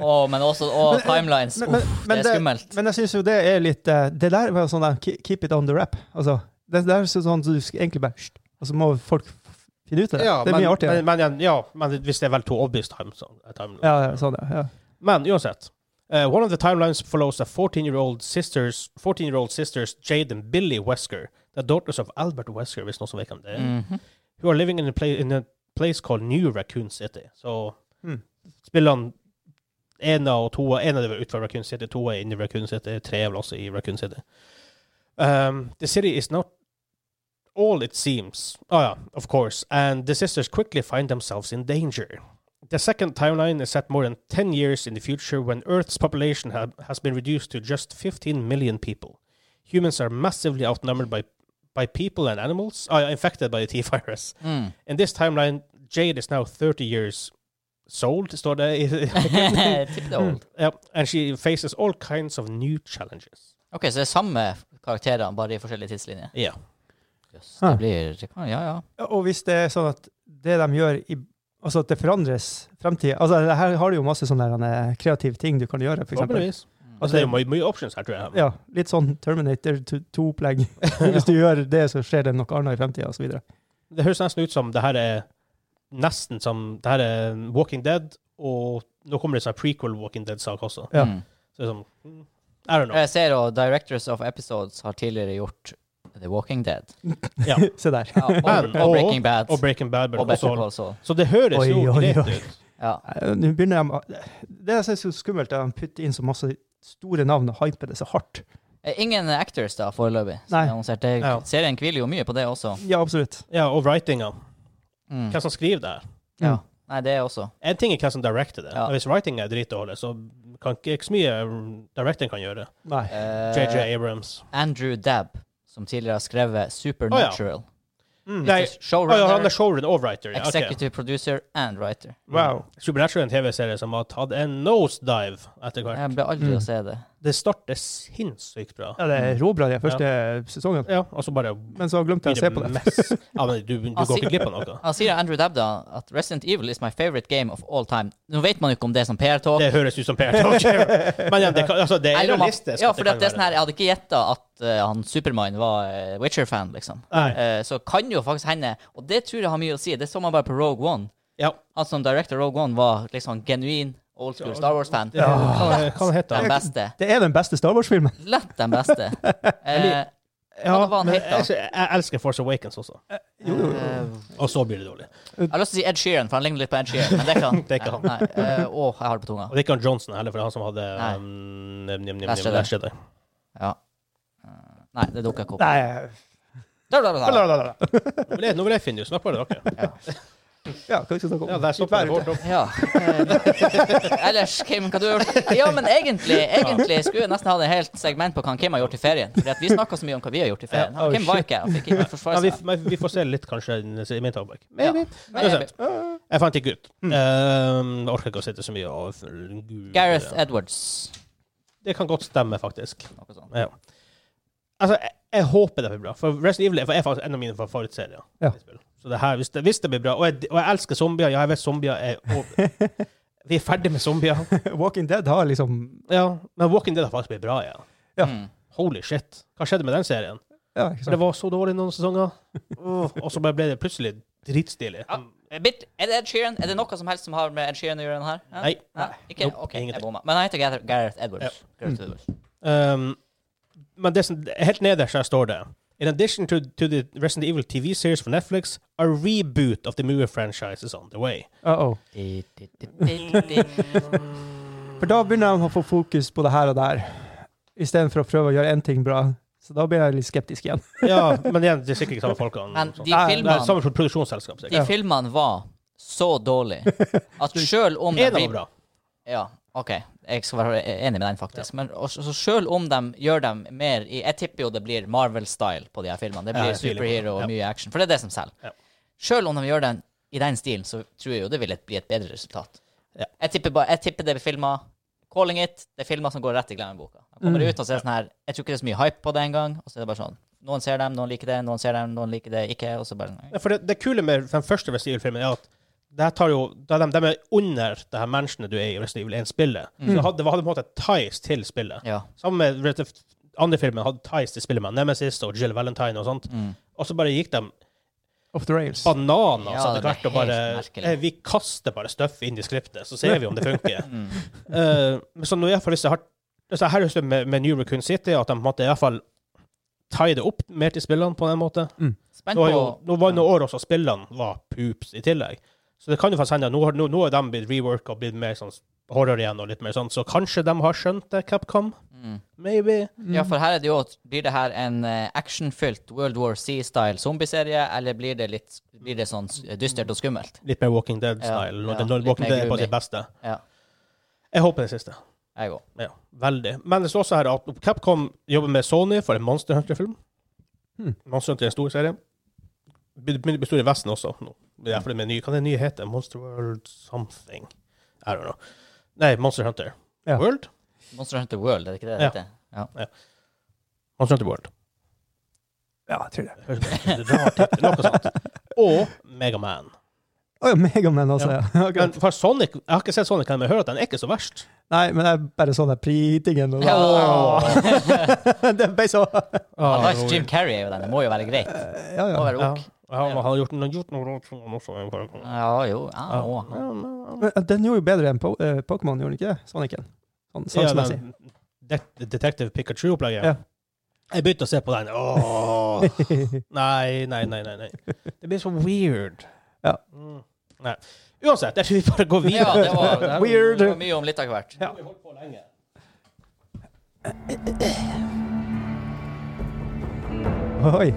C: Åh, men også åh, timelines.
A: Men, men,
C: Uff,
A: men,
C: det er skummelt.
A: men jeg syns jo det er litt eh, Det der var jo sånn der, ke- keep it on the wrap. Altså, det der er sånn at du skal egentlig bare Hysj. Og så må folk f- finne ut av det. det er
B: men,
A: mye artigere.
B: men, men, ja, men hvis det er vel to obvious time, så- timelines.
A: ja, ja, sånn, ja. ja.
B: Men uansett. Uh, one of the timelines follows a 14-year-old sisters, 14-year-old sisters Jade and Billy Wesker, the daughters of Albert Wesker, hvis noen som vet hvem det er.
C: Mhm.
B: who are living in a, pla in a place called New Raccoon City. Så
A: Hmm.
B: spiller han en og to En av dem er utenfor Raccoon City, to er inne i Raccoon City, tre er vel også i Raccoon City. Um, the city is not all it seems. Oh yeah, of course. And the sisters quickly find themselves in danger. The second timeline is set more than 10 years in the future when Earth's population ha has been reduced to just 15 million people. Humans are massively outnumbered by, by people and animals, uh, infected by the T [LAUGHS] virus.
C: Mm.
B: In this timeline, Jade is now 30 years old, står det. i-
A: [LAUGHS]
B: [LAUGHS]
C: Tip the old.
B: ja, Hmm. and she faces all kinds of new challenges.
C: OK, så det er samme karakterene, bare i forskjellige tidslinjer.
B: Ja.
C: Jøss,
B: Ja.
C: det blir det kan- Ja, ja.
A: Og hvis det er sånn at det de gjør i Altså at det forandres fremtiden altså det Her har du jo masse sånne der, eh, kreative ting du kan gjøre, for eksempel.
B: Forhåpentligvis. Altså, det er jo mye, mye options her, tror jeg.
A: Ja, litt sånn Terminator
B: [LAUGHS]
A: 2-opplegg. [LAUGHS] Hvis du gjør det, så skjer det noe annet i fremtiden, og så videre.
B: Det høres nesten ut som det her er nesten som det her er Walking Dead, og nå kommer det en sånn prequel Walking Dead-sak også.
A: Ja.
C: Mm.
B: Så det er sånn, mm, I don't know.
C: Jeg ser og Directors of Episodes har tidligere gjort The Walking
A: [LAUGHS]
C: Dead.
B: Ja.
A: Se der.
C: Ja, og,
B: Men-
C: og Breaking Bad.
B: Og Breaking Bad.
C: Og
B: Og
C: Better Call Saul.
B: Så det høres
A: Oi,
B: jo
A: oi,
B: greit
A: oi.
B: ut.
C: Ja.
A: Nei, Eh, Nå begynner jeg med Det jeg synes er så skummelt, er at de putter inn så masse store navn og hyper det så hardt.
C: Eh, Ingen actors da, foreløpig. som
A: Nei.
C: er annonsert. Det-
B: Ja.
C: Serien hviler jo mye på det også.
A: Ja, absolutt.
B: Ja, og writinga.
C: Mm.
B: Hvem som skriver det her?
C: Ja. Nei, det også.
B: En ting er hvem som directer det.
C: Ja.
B: Hvis writinga er dritdårlig, så kan ikke, ikke så mye eh, directing kan gjøre.
A: Nei.
C: Eh,
B: JJ Abrams.
C: Andrew Dabb, som tidligere har skrevet Supernatural.
B: Mm.
C: Mr.
B: Nei,
C: Showrunner,
B: ah, ja, han er showrunner og writer. Ja, ok. Mm.
C: executive producer and writer.
A: Wow.
B: Supernatural er en TV-serie som har tatt en nosedive etter hvert.
C: Jeg ble aldri
A: Mm.
C: å se det.
B: Det starter sinnssykt bra.
A: Ja, det er råbra de første sesongen,
B: Ja, og så bare
A: men så glemte jeg å se på det.
B: mess. Ja, men du, du går ikke glipp av noe.
C: Han sier Andrew Dabb da at Resident Evil is my favorite game of all time. Nå vet man jo ikke om det er sånn som PR-talk.
B: Det høres ut som Per
A: [LAUGHS]
B: Talker. Men ja, det, kan, altså, det er
C: Eller om han-
B: realistisk.
C: Ja,
B: at
C: for
B: kan
C: det er sånn her,
B: være
C: jeg hadde ikke gjetta at eh, han Supermann var eh, Witcher-fan, liksom.
B: Nei.
C: Eh, så kan jo faktisk hende, og det tror jeg har mye å si, det så man bare på Rogue One.
B: Ja.
C: Han som director Rogue One var liksom genuin old school Star Wars-fan.
A: Ah.
B: Ja, hva- hva heter
C: Den
B: han?
C: beste.
A: Det er den beste Star Wars-filmen.
C: Lett den
B: [LAUGHS]
C: beste. Eh,
B: Ja,
C: hva var han
B: men
C: het da? Eh,
B: jeg, jeg elsker Force Awakens også.
A: Jo, jo, jo.
B: Og så blir det dårlig.
C: jeg har lyst til å si Ed Sheeran, for han ligner litt på Ed Sheeran, men det er ikke han.
B: [LAUGHS] Det er ikke han.
C: Nei, eh, å, jeg har det på tunga.
B: Og det er ikke han Johnson heller, for det er han som hadde
C: Nei.
B: um, nem, nem, nem,
C: Last
B: nem,
C: Jedi.
B: Last Jedi.
C: Ja. Eh, Nei, det dukker ikke opp.
A: Nei
C: Da, da, da,
A: la,
C: da.
A: la, la, la.
B: Nå vil jeg- Nå vil jeg finne ut. Snakk bare dere.
A: Ja, hva skal vi snakke om?
B: [LAUGHS] Ja, der stopper det hårdt opp.
C: Ja. eh, [LAUGHS] Ellers, Kim, hva du har gjort? Ja, men egentlig, egentlig skulle jeg nesten hatt et helt segment på hva Kim har gjort i ferien. Fordi at vi snakka så mye om hva vi har gjort i ferien.
A: Ja, oh,
C: Han, Kim var ikke her. han fikk ikke
B: Ja,
C: forsvare
B: vi,
C: seg.
B: men vi får se litt, kanskje, i min talkback.
C: Ja.
B: Maybe. Mm.
C: Maybe.
B: Jeg fant ikke ut. Um, jeg orker ikke å sitte så mye og Gud.
C: Gareth Edwards.
B: Det kan godt stemme, faktisk.
C: Noe sånt.
B: Ja. Altså, jeg, jeg håper det blir bra, for Resident Evil er er faktisk en av mine favorittserier.
A: Ja.
B: Så det her, hvis det, hvis det blir bra Og jeg, og jeg elsker zombier. Ja, jeg vet zombier er [LAUGHS] over. Vi er ferdig med zombier.
A: [LAUGHS] Walking Dead har liksom
B: Ja, men Walking Dead har faktisk blitt bra igjen.
A: Ja.
C: Mm.
B: Holy shit. Hva skjedde med den serien?
A: Ja, ikke
B: For det
A: sant?
B: var så dårlig noen sesonger, og så bare ble det plutselig dritstilig.
C: Ja, eh, bit, er det Ed Sheeran? Er det noe som helst som har med Ed Sheeran å gjøre? den her? Ja?
B: Nei.
C: Nei. Ikke?
B: Nope,
C: OK,
B: ingenting.
C: jeg bomma. Men han heter Gareth Gareth Edwards. Gareth Edwards.
B: Um, men det som, helt nederst her står det In addition to, to the Resident Evil TV series for Netflix, a reboot of the movie franchise is on the way.
A: Uh -oh. For da begynner de å få fokus på det her og der, istedenfor å prøve å gjøre én ting bra. Så da blir jeg litt skeptisk igjen.
B: Ja, men igjen, det er sikkert ikke samme folkene.
C: Men de
B: Nei, det er
C: filmene-
B: samme produksjonsselskap, sikkert.
C: De filmene var så dårlige
B: [LAUGHS]
C: at sjøl om de
B: En av dem
C: blir-
B: bra.
C: Ja, OK. Jeg skal være enig med den, faktisk. Men også, så selv om de gjør dem mer i Jeg tipper jo det blir Marvel-style på de her filmene. Det
B: Ja,
C: blir
B: jeg tviler på det.
C: superhero
B: Ja.
C: og mye action. For det er det som selger.
B: Ja.
C: Selv om de gjør den i den stilen, så tror jeg jo det vil et- bli et bedre resultat.
B: Ja.
C: Jeg, tipper bare, jeg tipper det blir filmer Calling it det er filmer som går rett i glemmeboka. De kommer
B: Mm.
C: ut og ser sånn her Jeg tror ikke det er så mye hype på det engang. Og så er det bare sånn Noen ser dem, noen liker det, noen ser dem, noen liker det ikke. Og så bare sånn,
B: Ja, for det, det kule med den første Resident Evil-filmen er at det her tar jo, da de, de er under det her mansionet du er i Resident Evil 1-spillet. Så hadde, det hadde på en måte ties til spillet.
C: Ja.
B: Sammen med Red- andre filmen hadde ties til spillet med Nemesis og Jill Valentine og sånt.
C: Mm.
B: Og så bare gikk de
A: Off the rails.
B: bananer
C: Ja,
B: så hadde
C: det ble
B: klart å bare
C: helt merkelig.
B: eh, Vi kaster bare støff inn i skriptet, så ser vi om det funker. [LAUGHS]
C: Mm.
B: Eh, men så nå i hvert fall hvis jeg har hvis jeg har lyst til sånn med, med New Raccoon City, at de måtte iallfall tie det opp mer til spillene på den måten.
C: Spent
B: Nå, har
C: på Mm.
B: jo, nå var det noen år også spillene var poops i tillegg. Så det kan jo faktisk hende at nå, har- nå, nå er de blitt reworka og blitt mer sånn horror igjen. og litt mer sånn, Så kanskje de har skjønt det, Capcom?
C: Mm.
B: Maybe.
C: Ja, for her er det jo Blir det her en eh, actionfylt World War C-style zombieserie, eller blir det litt Blir det sånn s- dystert og skummelt?
B: Litt mer Walking Dead-style.
C: Ja, ja,
B: når
C: litt
B: Walking
C: mer
B: Dead er på sitt
C: gloomy.
B: beste.
C: Ja,
B: Jeg håper det siste.
C: jeg òg.
B: Ja, veldig. Men det står også her at Capcom jobber med Sony for en Monster Hunter-film. Monster Hunter er en stor serie. Be- Begynner å bli stor i Vesten også nå. Det er fordi med ny, kan det nye hete? Monster World something? I don't know. Nei, Monster Hunter.
A: Ja.
B: World?
C: Monster Hunter World, er det ikke det det
B: Ja.
C: heter? Ja.
B: Monster Hunter World.
A: Ja, jeg tror det.
B: Høres Rart tittel, noe sånt. Og Megaman.
A: Å ja, Megaman også, ja. [LAUGHS]
B: Men
A: Akkurat.
B: for Sonic, jeg har ikke sett Sonic, men jeg hører at den er ikke så
A: [LAUGHS]
B: verst.
A: Nei, men jeg bare så den pritingen. og sånn. da- Den ble så
B: Ah,
C: Han [LAUGHS] har ikke Jim Carrey er jo den. Det må jo være greit.
A: Eh, Ja,
C: Må
A: ja.
C: være ok.
B: Ja, han har gjort, han har gjort noe rart sånn også.
C: Ja, jo. Ja, å.
A: Men eh, Den gjorde jo bedre enn Po- eh, Pokémon, gjorde den ikke det? Sonicen. Sånn
B: Ja, den
A: sangsmessig.
B: Det- Detective Pikachu-opplegget.
A: Ja.
B: Jeg begynte å se på den. Åh.
A: [LAUGHS]
B: Nei, nei, nei, nei. nei. Det blir så weird.
A: Ja.
B: Mm. Nei. Uansett, jeg tror vi bare går
C: ja,
B: videre.
C: det var, det
A: Weird.
C: var mye om litt av hvert.
B: Vi holdt på lenge.
A: Oi.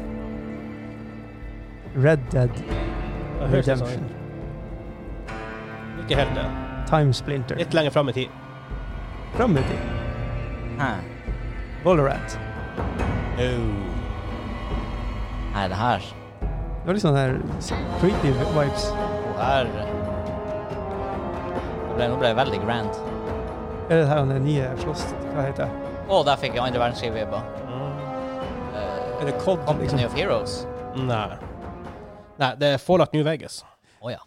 A: Red Dead
B: Det høres litt
A: Redemption.
B: sånn ut. Ikke helt det.
A: Time Splinter.
B: Litt lenger fram i tid.
A: Fram i tid.
C: Hæ.
A: Valorant.
B: Oh.
C: Nei, det her
A: Det var litt sånn her creepy vibes.
C: Hun her Nå ble, nå ble jeg veldig grand.
A: Er det her han er nye slåss... Hva heter det?
C: Å, der fikk jeg andre verdenskrig-vibber. Eh,
A: Er det COD?
C: Company of Heroes.
B: Nei. Nei, det er Fallout New Vegas.
C: Å ja.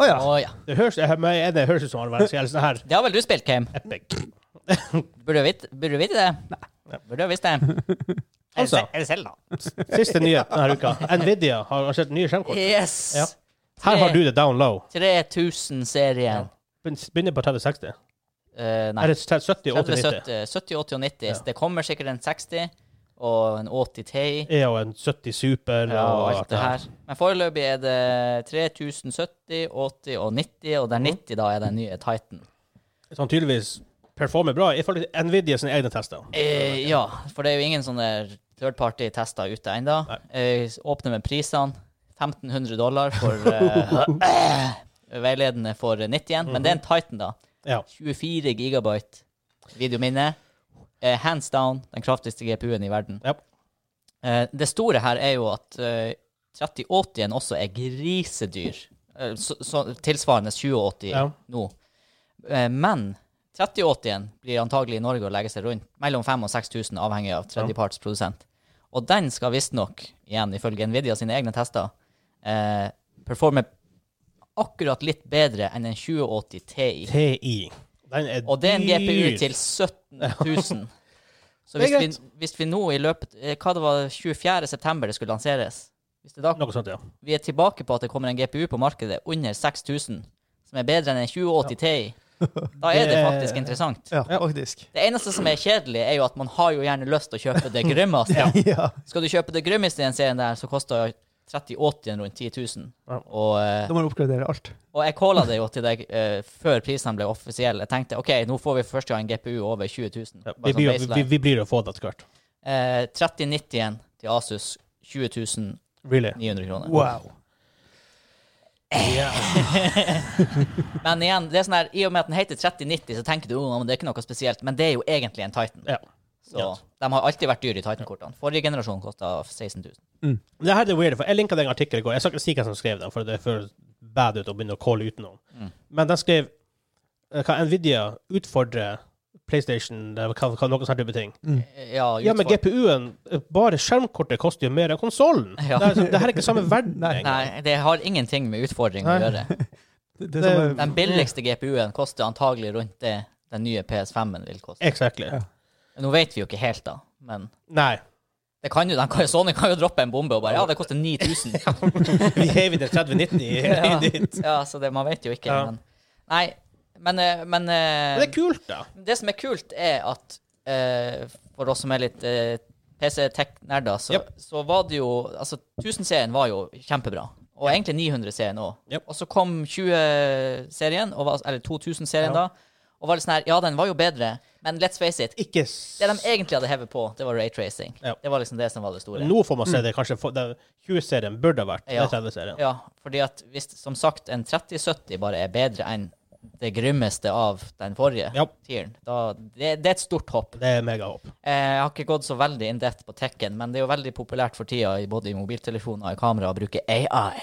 A: Å ja.
C: Å ja.
B: Det høres, jeg, men jeg- det høres ut som han var en sånn her
C: Det har vel du spilt, Kame?
B: epic.
C: Burde du vite, burde du vite det? Nei. Burde du visst det? Er det
B: [LAUGHS] Altså.
C: Ze- Er det Zelda?
B: Siste nyhet denne uka. Nvidia har lansert nye skjermkort.
C: Yes!
B: Ja. Her har du det down low.
C: 3000-serien.
B: Begynner på 3060.
C: Eh, nei.
B: Er det 70 og 90?
C: 30, 70, 80 og 90.
B: Ja.
C: Så det kommer sikkert en 60 og en 80 Ti
B: Er jo en 70 Super
C: og alt det her. Men foreløpig er det 3070, 80 og 90, og der
B: Mm.
C: 90 da er den nye Titan.
B: Som tydeligvis performer bra ifølge Nvidia sine egne tester.
C: Eh, ja, for det er jo ingen sånne third party-tester ute ennå. Eh, åpner med prisene. 1500
B: [LAUGHS]
C: dollar for eh, veiledende for 90 igjen. Men det er en Titan, da.
B: Mhm. Ja.
C: 24 gigabyte videominne. Eh, hands down den kraftigste GPU-en i verden.
B: Ja.
C: Eh, det store her er jo at eh, 3080-en også er grisedyr. Eh, så, så, tilsvarende 2080
B: Ja.
C: nå. Eh, men 3080-en blir antagelig i Norge å legge seg rundt mellom 5000 og 6000, avhengig av tredjepartsprodusent. Og den skal visstnok, igjen ifølge Nvidia sine egne tester, eh, performe akkurat litt bedre enn en 2080 Ti.
B: TI. Den er
C: Og det er en GPU
B: dyr.
C: til 17 000. Så
B: Det
C: hvis
B: er
C: vi, hvis vi nå i løpet eh, Hva det var 24. september det skulle lanseres? Hvis det da,
B: Noe sånt, ja.
C: vi er tilbake på at det kommer en GPU på markedet under 6000, som er bedre enn en 2080 Ti, [LAUGHS] da er det
B: Det-
C: faktisk interessant.
A: Ja, faktisk.
C: Det eneste som er kjedelig, er jo at man har jo gjerne lyst til å kjøpe det grimmeste.
A: [LAUGHS] [LAUGHS] Ja.
C: Skal du kjøpe det grimmeste i den serien der, så koster 3080 rundt 10 000.
B: Ja.
C: Og eh,
A: Da må du oppgradere alt.
C: og jeg calla det jo til deg eh, før prisene ble offisielle. Jeg tenkte OK, nå får vi først ha en GPU over 20 000.
B: ja.
C: Bare
B: Vi,
C: sånn
B: blir, jo- vi,
C: baseline.
B: vi blir jo få det etter hvert.
C: Eh, 3090-en til Asus 20
B: Really.
C: 900 kroner.
A: Wow.
C: Men igjen, det er sånn her, i og med at den heter 3090, så tenker du oh, men det er ikke noe spesielt. Men det er jo egentlig en Titan.
B: Ja.
C: Så de har alltid vært dyre i Titan-kortene. Forrige generasjon kosta 16 000.
B: Det her er det weird, for jeg linka den artikkelen i går. Jeg skal ikke si hvem som skrev den, for det føles bad ut å begynne å calle ut noen.
C: Mm.
B: Men den skrev eh, Kan Nvidia utfordre PlayStation eller hva, hva noen sånne type ting?
C: Eh, Ja,
B: Ja, men
C: utfor-
B: GPU-en eh, Bare skjermkortet koster jo mer enn konsollen! Det,
C: Ja.
B: er- liksom, det her er ikke
C: [LAUGHS]
B: samme verden
A: Nei.
B: engang.
C: Nei, det har ingenting med utfordring å
B: Nei.
C: gjøre.
A: Det, det er
C: Den billigste GPU-en koster antagelig rundt det den nye PS5-en vil koste.
B: Exactly.
A: Ja.
C: Nå vet vi jo ikke helt, da, men
B: Nei.
C: Det kan jo, de kan, Sony kan jo droppe en bombe og bare Ja, det
B: [LAUGHS]
C: koster 9000.
B: Vi heiv inn en 3090 i- i
C: [LAUGHS] ja.
B: ditt.
C: ja, så det, man vet jo ikke.
B: Ja.
C: Men, nei, men, eh, men
B: Men det
C: eh,
B: er kult, da.
C: det som er kult, er at eh, for oss som er litt eh, PC-tech-nerder, så,
B: Japp.
C: så var det jo Altså, 1000-serien var jo kjempebra. Og egentlig 900-serien òg.
B: Japp.
C: Og så kom 20-serien, og var- eller 2000-serien
B: Ja.
C: da, og var litt sånn her Ja, den var jo bedre, men let's face it.
B: Ikke
C: Det de egentlig hadde hevet på, det var raytracing.
B: Ja.
C: Det var liksom det som var det store.
B: Nå får man se det kanskje for- det 20-serien burde ha vært
C: Mm. Ja.
B: den 30-serien.
C: Ja, fordi at hvis, som sagt, en 3070 bare er bedre enn det grimmeste av den forrige
B: Ja.
C: tieren, da det, det er et stort hopp.
B: Det er megahåp.
C: Eh, Jeg har ikke gått så veldig in depth på tekken, men det er jo veldig populært for tida, i- både i mobiltelefoner og i kamera, å bruke AI.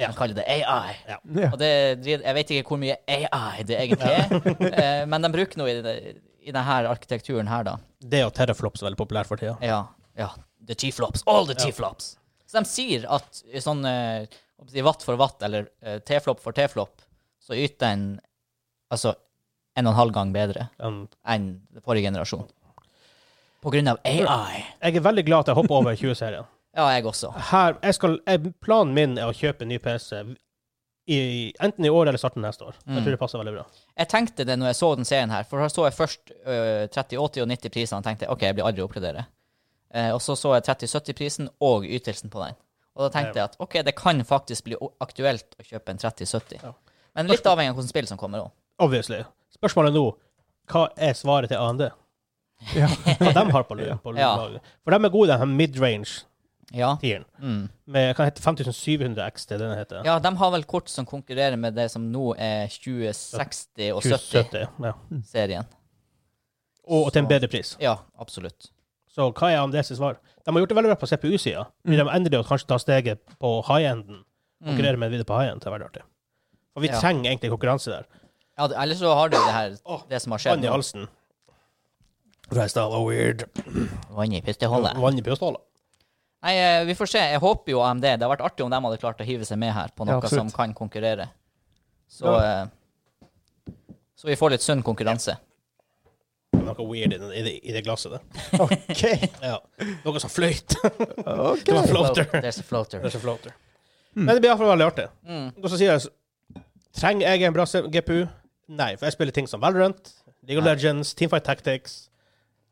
C: Man kaller det AI.
B: Ja.
A: Ja.
C: Og det, jeg vet ikke hvor mye AI det egentlig er, eh, men de bruker noe i, det- i denne arkitekturen her, da.
B: Det og Terraflops er veldig populært for tida.
C: Ja, ja. the T-flops, all the T-flops. Så de sier at i sånn eh, hva skal jeg si, watt for watt, eller eh, T-flop for T-flop, så yter den altså en og en halv gang bedre
B: Um,
C: enn forrige generasjon. På grunn av AI.
B: jeg er veldig glad at jeg hopper over 20-serien.
C: Ja, jeg også.
B: Her, jeg skal, jeg, planen min er å kjøpe en ny PC i, enten i år eller starten neste år.
C: Mm.
B: Jeg tror det passer veldig bra.
C: Jeg tenkte det når jeg så den serien her, for her så jeg først øh, 30, 80 og 90 prisene og tenkte OK, jeg blir aldri å oppgradere. Eh, og så så jeg 30, 70 prisen og ytelsen på den. Og da
B: Ja.
C: tenkte jeg at OK, det kan faktisk bli o- aktuelt å kjøpe en 30, 70.
B: Ja.
C: Men litt avhengig av hvilket spill som kommer òg.
B: Obviously. Spørsmålet nå hva er svaret til AMD?
A: Ja.
B: [LAUGHS] Hva de har på, lu- på
C: Ja.
B: laget? For de er gode, de her mid-range-tieren.
C: Ja. Mm.
B: Med hva heter 5700 XT, den heter.
C: ja, de har vel kort som konkurrerer med det som nå er 2060 og 70-serien.
B: 2070. Ja. Og, og til en bedre pris.
C: Ja, absolutt.
B: Så hva er AMDs svar? De har gjort det veldig bra på CPU-sida.
C: Mm.
B: De endelig å kanskje ta steget på high-enden. Konkurrere med videre på high-end. Det er veldig artig. Og vi
C: Ja.
B: trenger egentlig konkurranse der.
C: Ja, det- ellers så har du det her,
B: Åh,
C: det som har skjedd.
B: Vann i
C: nå.
B: halsen. Rest all the weird.
C: Vann i pusteholdet.
B: Vann i pjøstålet.
C: Nei, eh, vi får se. Jeg håper jo AMD. Det hadde vært artig om de hadde klart å hive seg med her på
A: Ja,
C: noe
A: absolutt.
C: som kan konkurrere. Så eh, Så vi får litt sunn konkurranse.
B: Det var Noe weird i, den- i, det- i det glasset der.
A: OK.
B: Ja. Noe som fløyt.
A: ok.
B: Det var floater.
C: There's a floater.
B: Det er så floater. Men det blir iallfall veldig artig.
C: Mm.
B: Og så sier jeg Trenger jeg en bra se- GPU? Nei, for jeg spiller ting som Valorant, League of
C: Nei.
B: Legends, Teamfight Tactics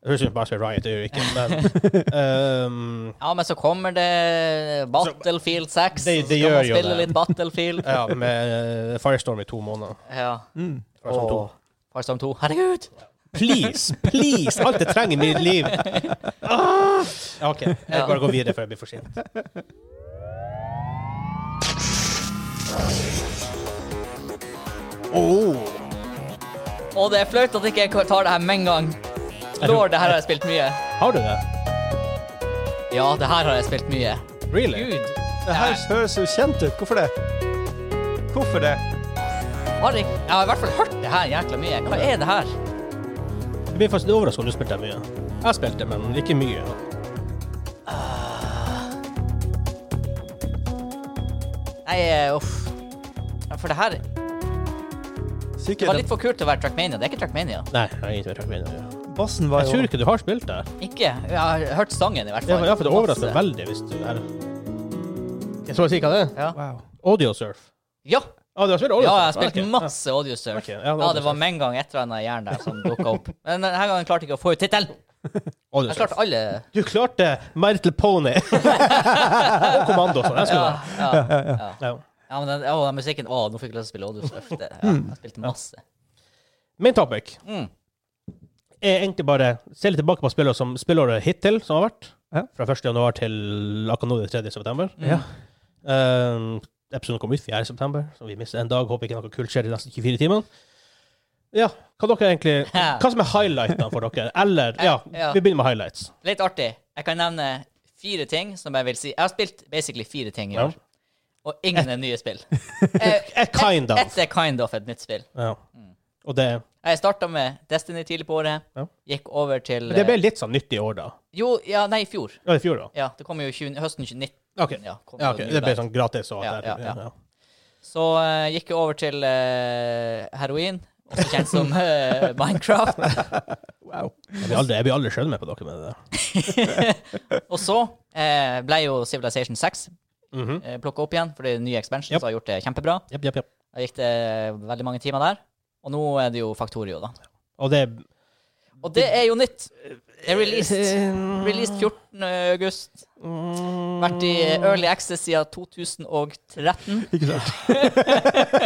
B: Det høres ut som bare spiller Riot, det gjør jeg ikke, men um,
C: Ja, men så kommer det Battlefield 6.
B: Det- det
C: så skal
B: gjør
C: man
B: jo
C: spille
B: det.
C: litt Battlefield.
B: [LAUGHS] Ja, med eh, Firestorm i to måneder.
C: ja.
A: Mm.
B: Firestorm
C: Og
B: 2.
C: Farstorm 2. Herregud!
B: Please, please! Alt jeg trenger i mitt liv. Ah! OK, jeg
C: Ja.
B: bare går videre før jeg blir for sent. Oh.
C: Og det er flaut at ikke jeg ikke tar det her med en gang. Lord, det her har jeg spilt mye.
B: Har du det?
C: Ja, det her har jeg spilt mye.
B: Really?
C: Gud.
A: Det her høres jo kjent ut. Hvorfor det? Hvorfor det?
C: Har jeg, jeg har i hvert fall hørt det her jækla mye. Hva er det her?
B: Jeg blir faktisk overrasket om du spilte mye. Jeg spilte, men ikke mye.
C: Nei, eh, uff. For det her Det var
A: Sikkert
C: litt for kult til å være Trackmania. Det er ikke Trackmania.
B: Nei, jeg har ingenting med Trackmania å gjøre.
A: bassen var
B: Jeg tror
A: jo
B: ikke du har spilt det.
C: Ikke. Jeg har hørt sangen, i hvert
B: Ja,
C: fall.
B: for det overrasker
C: Masse.
B: meg veldig hvis du er Jeg tror jeg sier hva det er.
C: Ja.
A: Wow.
B: Audiosurf. Ja,
C: Ja.
B: Ah, du har spilt
C: ja, jeg
B: Audiosurf?
C: har
B: Ok,
C: spilt
B: ja.
C: masse Audiosurf.
B: Ok, ja, det
C: Ja,
B: var
C: det var med en gang et eller annet jern der som dukka opp. Men denne gangen klarte jeg ikke å få ut tittelen. Jeg
B: Audiosurf.
C: klarte alle
B: Du klarte My Little
C: [LAUGHS]
B: Pony. Og Kommando. Sånn. Jeg
C: ja,
B: skulle
C: ja, ja.
B: ja.
C: ja, men den, å, den musikken Å, nå fikk jeg lyst til å spille Audiosurf. Det, ja, jeg spilte masse.
B: Min topic
C: Mm.
B: er egentlig bare se litt tilbake på spillåret som spillåret hittil som har vært.
A: Ja.
B: Fra 1. januar til akkurat nå den 3. september.
C: Mm.
A: Ja.
B: Um, episoden kom ut 4. september, så vi mister en dag. Håper ikke noe kult skjer de neste 24 timene. Ja, hva dere egentlig
C: [LAUGHS]
B: Hva som er highlightene for dere? Eller ja,
C: Ja.
B: vi begynner med highlights.
C: Litt artig. Jeg kan nevne fire ting som jeg vil si. Jeg har spilt basically fire ting i
B: Ja.
C: år. Og ingen er
B: [LAUGHS]
C: nye spill. Eh,
B: Eh, Kind of.
C: Ett er kind of et nytt spill.
B: Ja.
C: Mm.
B: Og det
C: Jeg starta med Destiny tidlig på året.
B: Ja.
C: Gikk over til eh,
B: Men det ble litt sånn nytt i år, da.
C: Jo, ja, nei, i fjor.
B: Ja, i fjor, da.
C: Ja, det kom jo 20, høsten 2019.
B: OK.
C: Ja, kom
B: Ja,
C: det
B: ok.
C: nye
B: Det ble
C: der.
B: sånn gratis og alt
C: Ja,
B: det
C: ja,
B: der.
C: ja.
B: Ja.
C: Så eh, gikk jeg over til eh, heroin, også kjent som eh, [LAUGHS] Minecraft.
A: Wow.
B: Jeg blir aldri, jeg blir aldri skjønn med på dere med det der.
C: Og så eh, ble jo Civilization 6
B: Mhm.
C: uh, plukka opp igjen, for det er nye expansions
B: Yep.
C: som har gjort det kjempebra.
B: Jepp, jepp, jepp.
C: Da gikk det eh, veldig mange timer der. Og nå er det jo Factorio, da.
B: Og det
C: Og det er jo nytt! Det er released.
A: Eh,
C: Released 14. august. Vært i eh, early access siden 2013.
A: Ikke sant?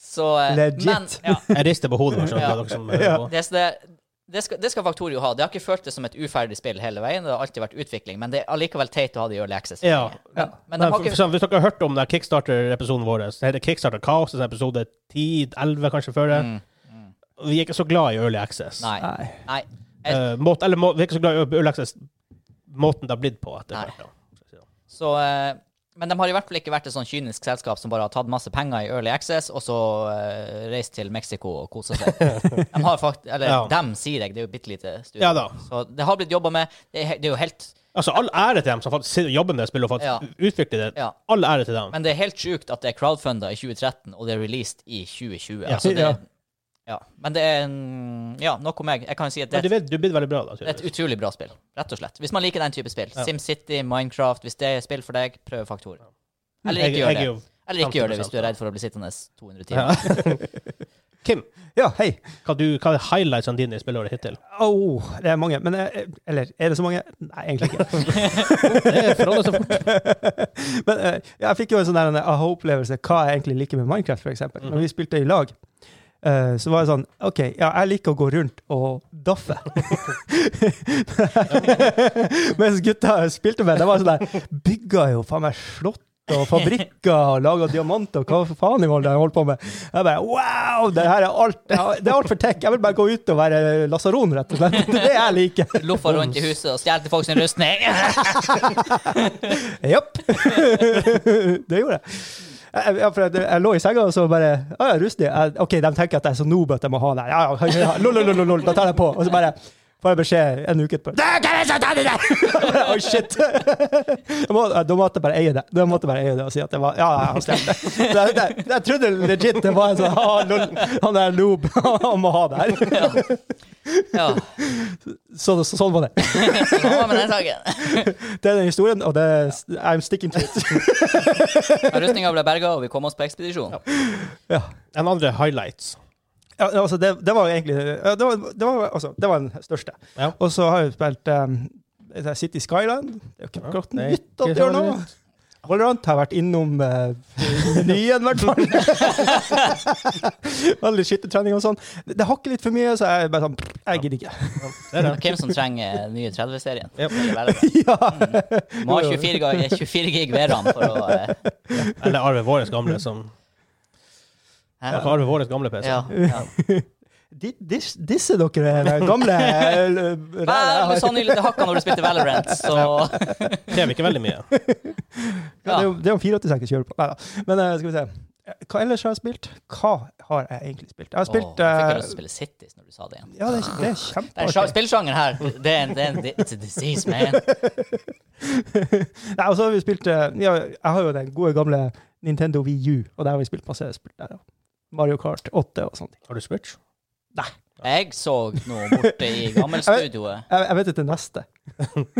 C: Så eh,
A: Legit.
C: Men, ja,
B: Jeg rister på hodet. skjønner
C: Ja.
B: dere som hører
A: Ja.
B: på.
C: det, er så det, det, skal, det skal Factorio ha. Det har ikke føltes som et uferdig spill hele veien. Det har alltid vært utvikling, men det er allikevel teit å ha det i early access.
B: Ja.
A: Ja.
B: Nei,
C: Men de har
B: for, for
C: ikke
B: eksempel, hvis dere har hørt om den Kickstarter-episoden vår, så heter Kickstarter Kaos, det er episode 10-11 kanskje før det.
C: Mm.
B: Vi er ikke så glad i Early Access.
C: Nei.
A: Nei.
C: nei.
B: Eh, måt, eller må, vi er ikke så glad i Early Access måten det har blitt på etter
C: Nei.
B: hvert. da.
C: Så eh, Men de har i hvert fall ikke vært et sånn kynisk selskap som bare har tatt masse penger i Early Access og så eh, reist til Mexico og kosa
B: [LAUGHS]
C: seg. De har fakt eller
B: Ja.
C: dem, sier jeg. Det er jo et bitte lite studie.
B: Ja da.
C: Så det har blitt jobba med. Det er, he- det er jo helt
B: Altså, all ære til dem som faktisk sitter og jobber med det spillet og faktisk utvikler det.
C: Ja.
B: All ære til dem.
C: Men det er helt sjukt at det er crowdfunda i 2013, og det er released i 2020.
B: Ja.
C: Altså, det,
A: Ja.
C: ja. Men det er en Ja, nok om meg. Jeg kan si at
B: Men
C: det er
B: du
C: et,
B: vet, du blir veldig bra, da.
C: det er et
B: tydeligvis.
C: utrolig bra spill, rett og slett. Hvis man liker den type spill.
B: Ja.
C: SimCity, Minecraft. Hvis det er spill for deg, prøv Faktor. Eller
B: Mm. Jeg-
C: ikke gjør
B: jeg er
C: det.
B: jo-
C: Eller ikke gjør det hvis
B: 50%,
C: du er redd for å bli sittende 200 timer.
B: [LAUGHS] Kim,
A: Ja, hei.
B: hva, du, hva er highlightsene dine i spillåret hittil?
A: Au, det er mange. Men eh, Eller er det så mange? Nei, egentlig ikke.
B: Det forholder
C: [LAUGHS]
B: seg fort.
A: [LAUGHS] Men eh, jeg fikk jo en sånn der, en aha-opplevelse hva jeg egentlig liker med Minecraft, f.eks. Når vi spilte i lag, eh, så var jeg sånn OK, ja, jeg liker å gå rundt og daffe. [LAUGHS] Mens gutta jeg spilte med, de var sånn der Bygga jo faen meg slott. Og fabrikker og lager diamanter, og hva faen i holder jeg holdt på med? Jeg bare wow! Det her er alt det er det er alt for tech. Jeg vil bare gå ut og være lasaron, rett og slett. [LAUGHS] Det er det jeg liker.
C: Loffa
B: [LAUGHS]
C: rundt i huset og stjal til folk sin rustning. [LAUGHS]
A: Japp. [LAUGHS] det gjorde jeg. Jeg, jeg, for jeg, jeg lå i senga og så bare Å ja, rustig. Jeg, OK, de tenker at jeg er så noob at jeg må ha den. Ja, ja, ja, lol, lol, lol, lol, da tar jeg på. Og så bare får jeg beskjed en uke etterpå. «Nei, hva er det som tar det der?» [LAUGHS] Jeg bare, Å, shit. Jeg må, da måtte jeg bare eie det. Da måtte jeg bare eie det og si at det var Ja, jeg har slemt det. Så Jeg, jeg, jeg trodde legit det var en sånn ah, lol, Han er noob. [LAUGHS] Han må ha det her.
C: Ja. ja.
A: Så, så, sånn var det.
C: Så hva med den saken?
A: Det er den historien, og det I'm sticking to it. [LAUGHS]
C: Rustninga ble berga, og vi kom oss på ekspedisjon.
A: Ja.
B: En andre highlights.
A: Ja, altså det, det var jo egentlig ja, det, var, det, var, altså, det var den største.
B: Ja.
A: Og så har jeg spilt um, det der City Skyline. Det er jo ikke akkurat
B: det er
A: nytt at
B: ikke
A: det gjør
B: så
A: noe. Valorant har vært innom eh, menyen, i hvert fall. Veldig skyttertrening og sånn. Det, det hakker litt for mye, så jeg er bare sånn Jeg gidder ikke. [LAUGHS]
B: Det er det.
C: Hvem som trenger den nye 30-serien?
B: Yep.
A: ja.
C: Må ha 24 gig, 24 gig VRAM for å eh,
B: Eller Arve Våres gamle som
C: hæ?
B: ja. Arve Våres gamle PC.
A: [LAUGHS]
C: Ja. ja.
A: Di- dis- Disse dere den gamle eh, ræva
C: Vel,
A: her.
C: sannsynlig det hakka når du spilte Valorant, så
B: Krever ikke veldig mye.
A: Ja, det er
C: ja.
A: jo- det er jo en 486 jeg kjører på. Neida. Men eh, skal vi se. Hva ellers har jeg spilt? Hva har jeg egentlig spilt? Jeg har
C: Åh,
A: spilt
C: jeg
A: eh,
C: fikk jo lyst til å spille Cities når du sa det igjen.
A: Ja, det er, det er
C: Den sja-
A: kjempeartig.
C: spillsjangeren her, det er en, det er en it's a disease, man.
A: [LAUGHS] Nei, og så har vi spilt eh, ja, Jeg har jo den gode gamle Nintendo Wii U, og der har vi spilt masse spill der. ja. Mario Kart 8 og sånt.
B: [LAUGHS] Har du Switch?
C: Jeg så noe borte i gammelstudioet.
A: Jeg, jeg vet ikke det neste.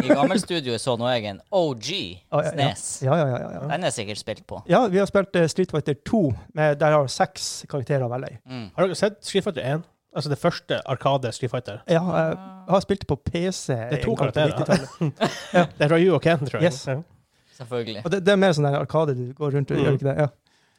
C: I gammelstudioet så nå jeg en OG
A: Å, ja,
C: Snes.
A: Ja, ja, ja. ja, ja.
C: Den er sikkert spilt på.
A: ja vi har spilt eh, Street Fighter 2, med, der har seks karakterer å velge i.
C: Mm.
B: Har dere sett Street Fighter 1? Altså det første Arkade Street Fighter.
A: Ja, jeg har spilt det på PC.
B: Det er to
A: en gang på
B: karakterer.
A: 90-tallet.
B: [LAUGHS] Det er fra You og Ken, tror jeg.
A: Yes.
B: Ja.
C: Selvfølgelig.
A: Og det, det er mer sånn der arkade du går rundt og
B: Mm.
A: gjør ikke det? Ja.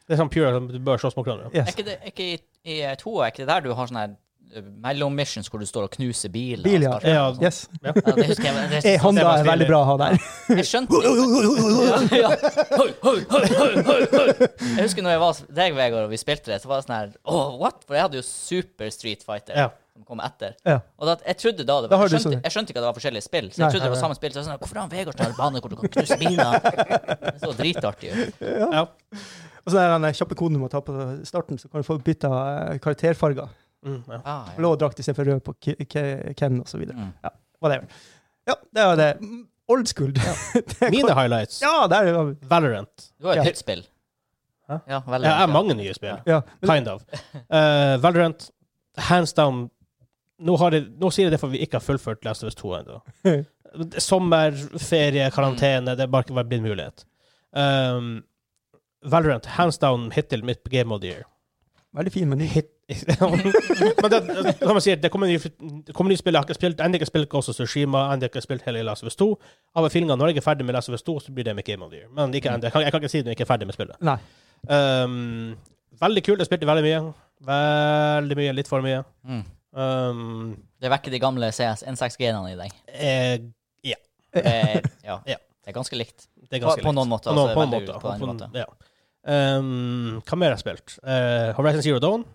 B: Det er sånn pure som du bør slåss mot hverandre.
C: Er
A: Yes.
C: ikke det ikke i, i eh, toa, er ikke det der du har sånne her, eh, mellom missions hvor du står og knuser biler?
A: Bil, ja.
C: og sparker
B: Ja,
C: og sånt?
A: yes.
C: Ja, det husker jeg. Det,
A: Eh, Honda er veldig bra å ha der.
C: Jeg skjønte det. ikke. Ja, ja. Hoi, hoi, hoi, hoi, hoi, hoi. Jeg husker når jeg var deg, Vegard, og vi spilte det, så var det sånn her Åh, what? For jeg hadde jo Super Street Fighter
B: Ja.
C: som kom etter.
A: Ja.
C: Og da, jeg trodde da det
A: Da
C: var
A: har
C: jeg
A: du
C: skjønte,
A: sånne.
C: jeg skjønte ikke at det var forskjellige spill. Så jeg
A: Nei,
C: trodde det
A: nei,
C: var samme spill. Så jeg var sånn, Hvorfor har han Vegard sånn her bane hvor du kan knuse biler? Det så dritartig ut.
B: Ja.
A: Og så er den kjappe koden du må ta på starten, så kan du få bytta eh, karakterfarger.
B: Mm, ja.
C: Ah, ja.
A: Blå drakt istedenfor rød på Ki- Ke- Ken og så videre.
C: Mm.
A: Whatever. Ja, det var det. Mm, Old school. Ja,
B: Mine highlights.
A: ja der er det.
B: Valorant.
C: Du har jo
A: Ja.
C: et nytt spill.
B: Hæ?
C: Ja, veldig.
B: Jeg har
C: nytt,
B: mange nye spill.
A: Ja. Men,
B: Kind of. Eh, Valorant, hands down Nå, har jeg, nå sier jeg det fordi vi ikke har fullført Last of Us 2 ennå. Sommer, ferie, karantene. Det har bare ikke vært blitt mulighet. Um, Valorant, hands down hittil mitt game of the year.
A: veldig fin meny.
B: Men det, som jeg sier, det kommer nye, det kommer nye spill. Jeg har ikke spilt ennå ikke spilt Ghost of Sushima, ennå ikke spilt hele Last of Us 2. Av og til når jeg er ferdig med Last of Us 2, så blir det mitt game of the year. Men ikke enda. Jeg, kan, jeg kan ikke si det når jeg ikke er ferdig med spillet.
A: [LAUGHS] Nei.
B: Um, veldig kult. Jeg spilte veldig mye. Veldig mye, litt for mye.
C: ja. Mm.
B: Um,
C: Det vekker de gamle CS 1.6-genene i deg.
B: eh,
C: Eh,
A: [LAUGHS]
C: ja.
B: Ja.
C: Det er ganske likt.
B: det er
C: På,
B: ganske
C: på
B: likt.
C: noen måter.
B: På noen,
C: altså,
B: på noen
C: veldig-
B: måter.
C: På en
B: På
C: måte.
B: noen- ja. um, hva mer har jeg spilt? Eh, Horizon Zero Dawn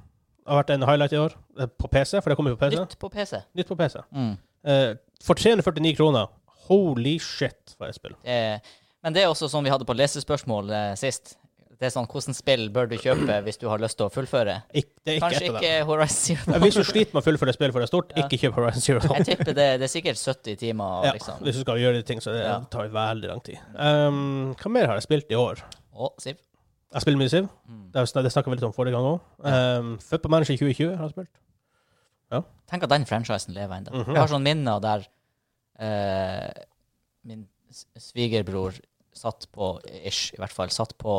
B: har vært en highlight i år. Eh, På PC, for det kommer jo på PC. Nytt,
C: Nytt på PC.
B: på PC.
C: Mm.
B: Eh, for 349 kroner. Holy shit, for et spill.
C: Eh, Men det er også sånn vi hadde på lesespørsmål eh, sist. Det er sånn, Hvordan spill bør du kjøpe hvis du har lyst til å fullføre?
B: Ik det er ikke
C: Kanskje
B: et av
C: ikke
B: dem.
C: Horizon Zero.
B: Men Hvis du sliter med å fullføre spill for det er stort,
C: Ja.
B: ikke kjøp Horizon Zero.
C: Jeg tipper det, det er sikkert 70 timer.
B: Ja,
C: liksom.
B: hvis du skal gjøre de ting, så det
C: Ja.
B: tar veldig lang tid. Um, hva mer har jeg spilt i år?
C: Å, Siv. Mm.
B: Jeg spiller mye Siv. Det har vi snak- det snakka vi litt om forrige gang òg. Um, Football Manager 2020 har jeg spilt.
C: Tenk at den franchisen lever ennå.
B: Mhm.
C: Jeg har sånn minner der eh, min s- svigerbror satt på, ish, i hvert fall, satt på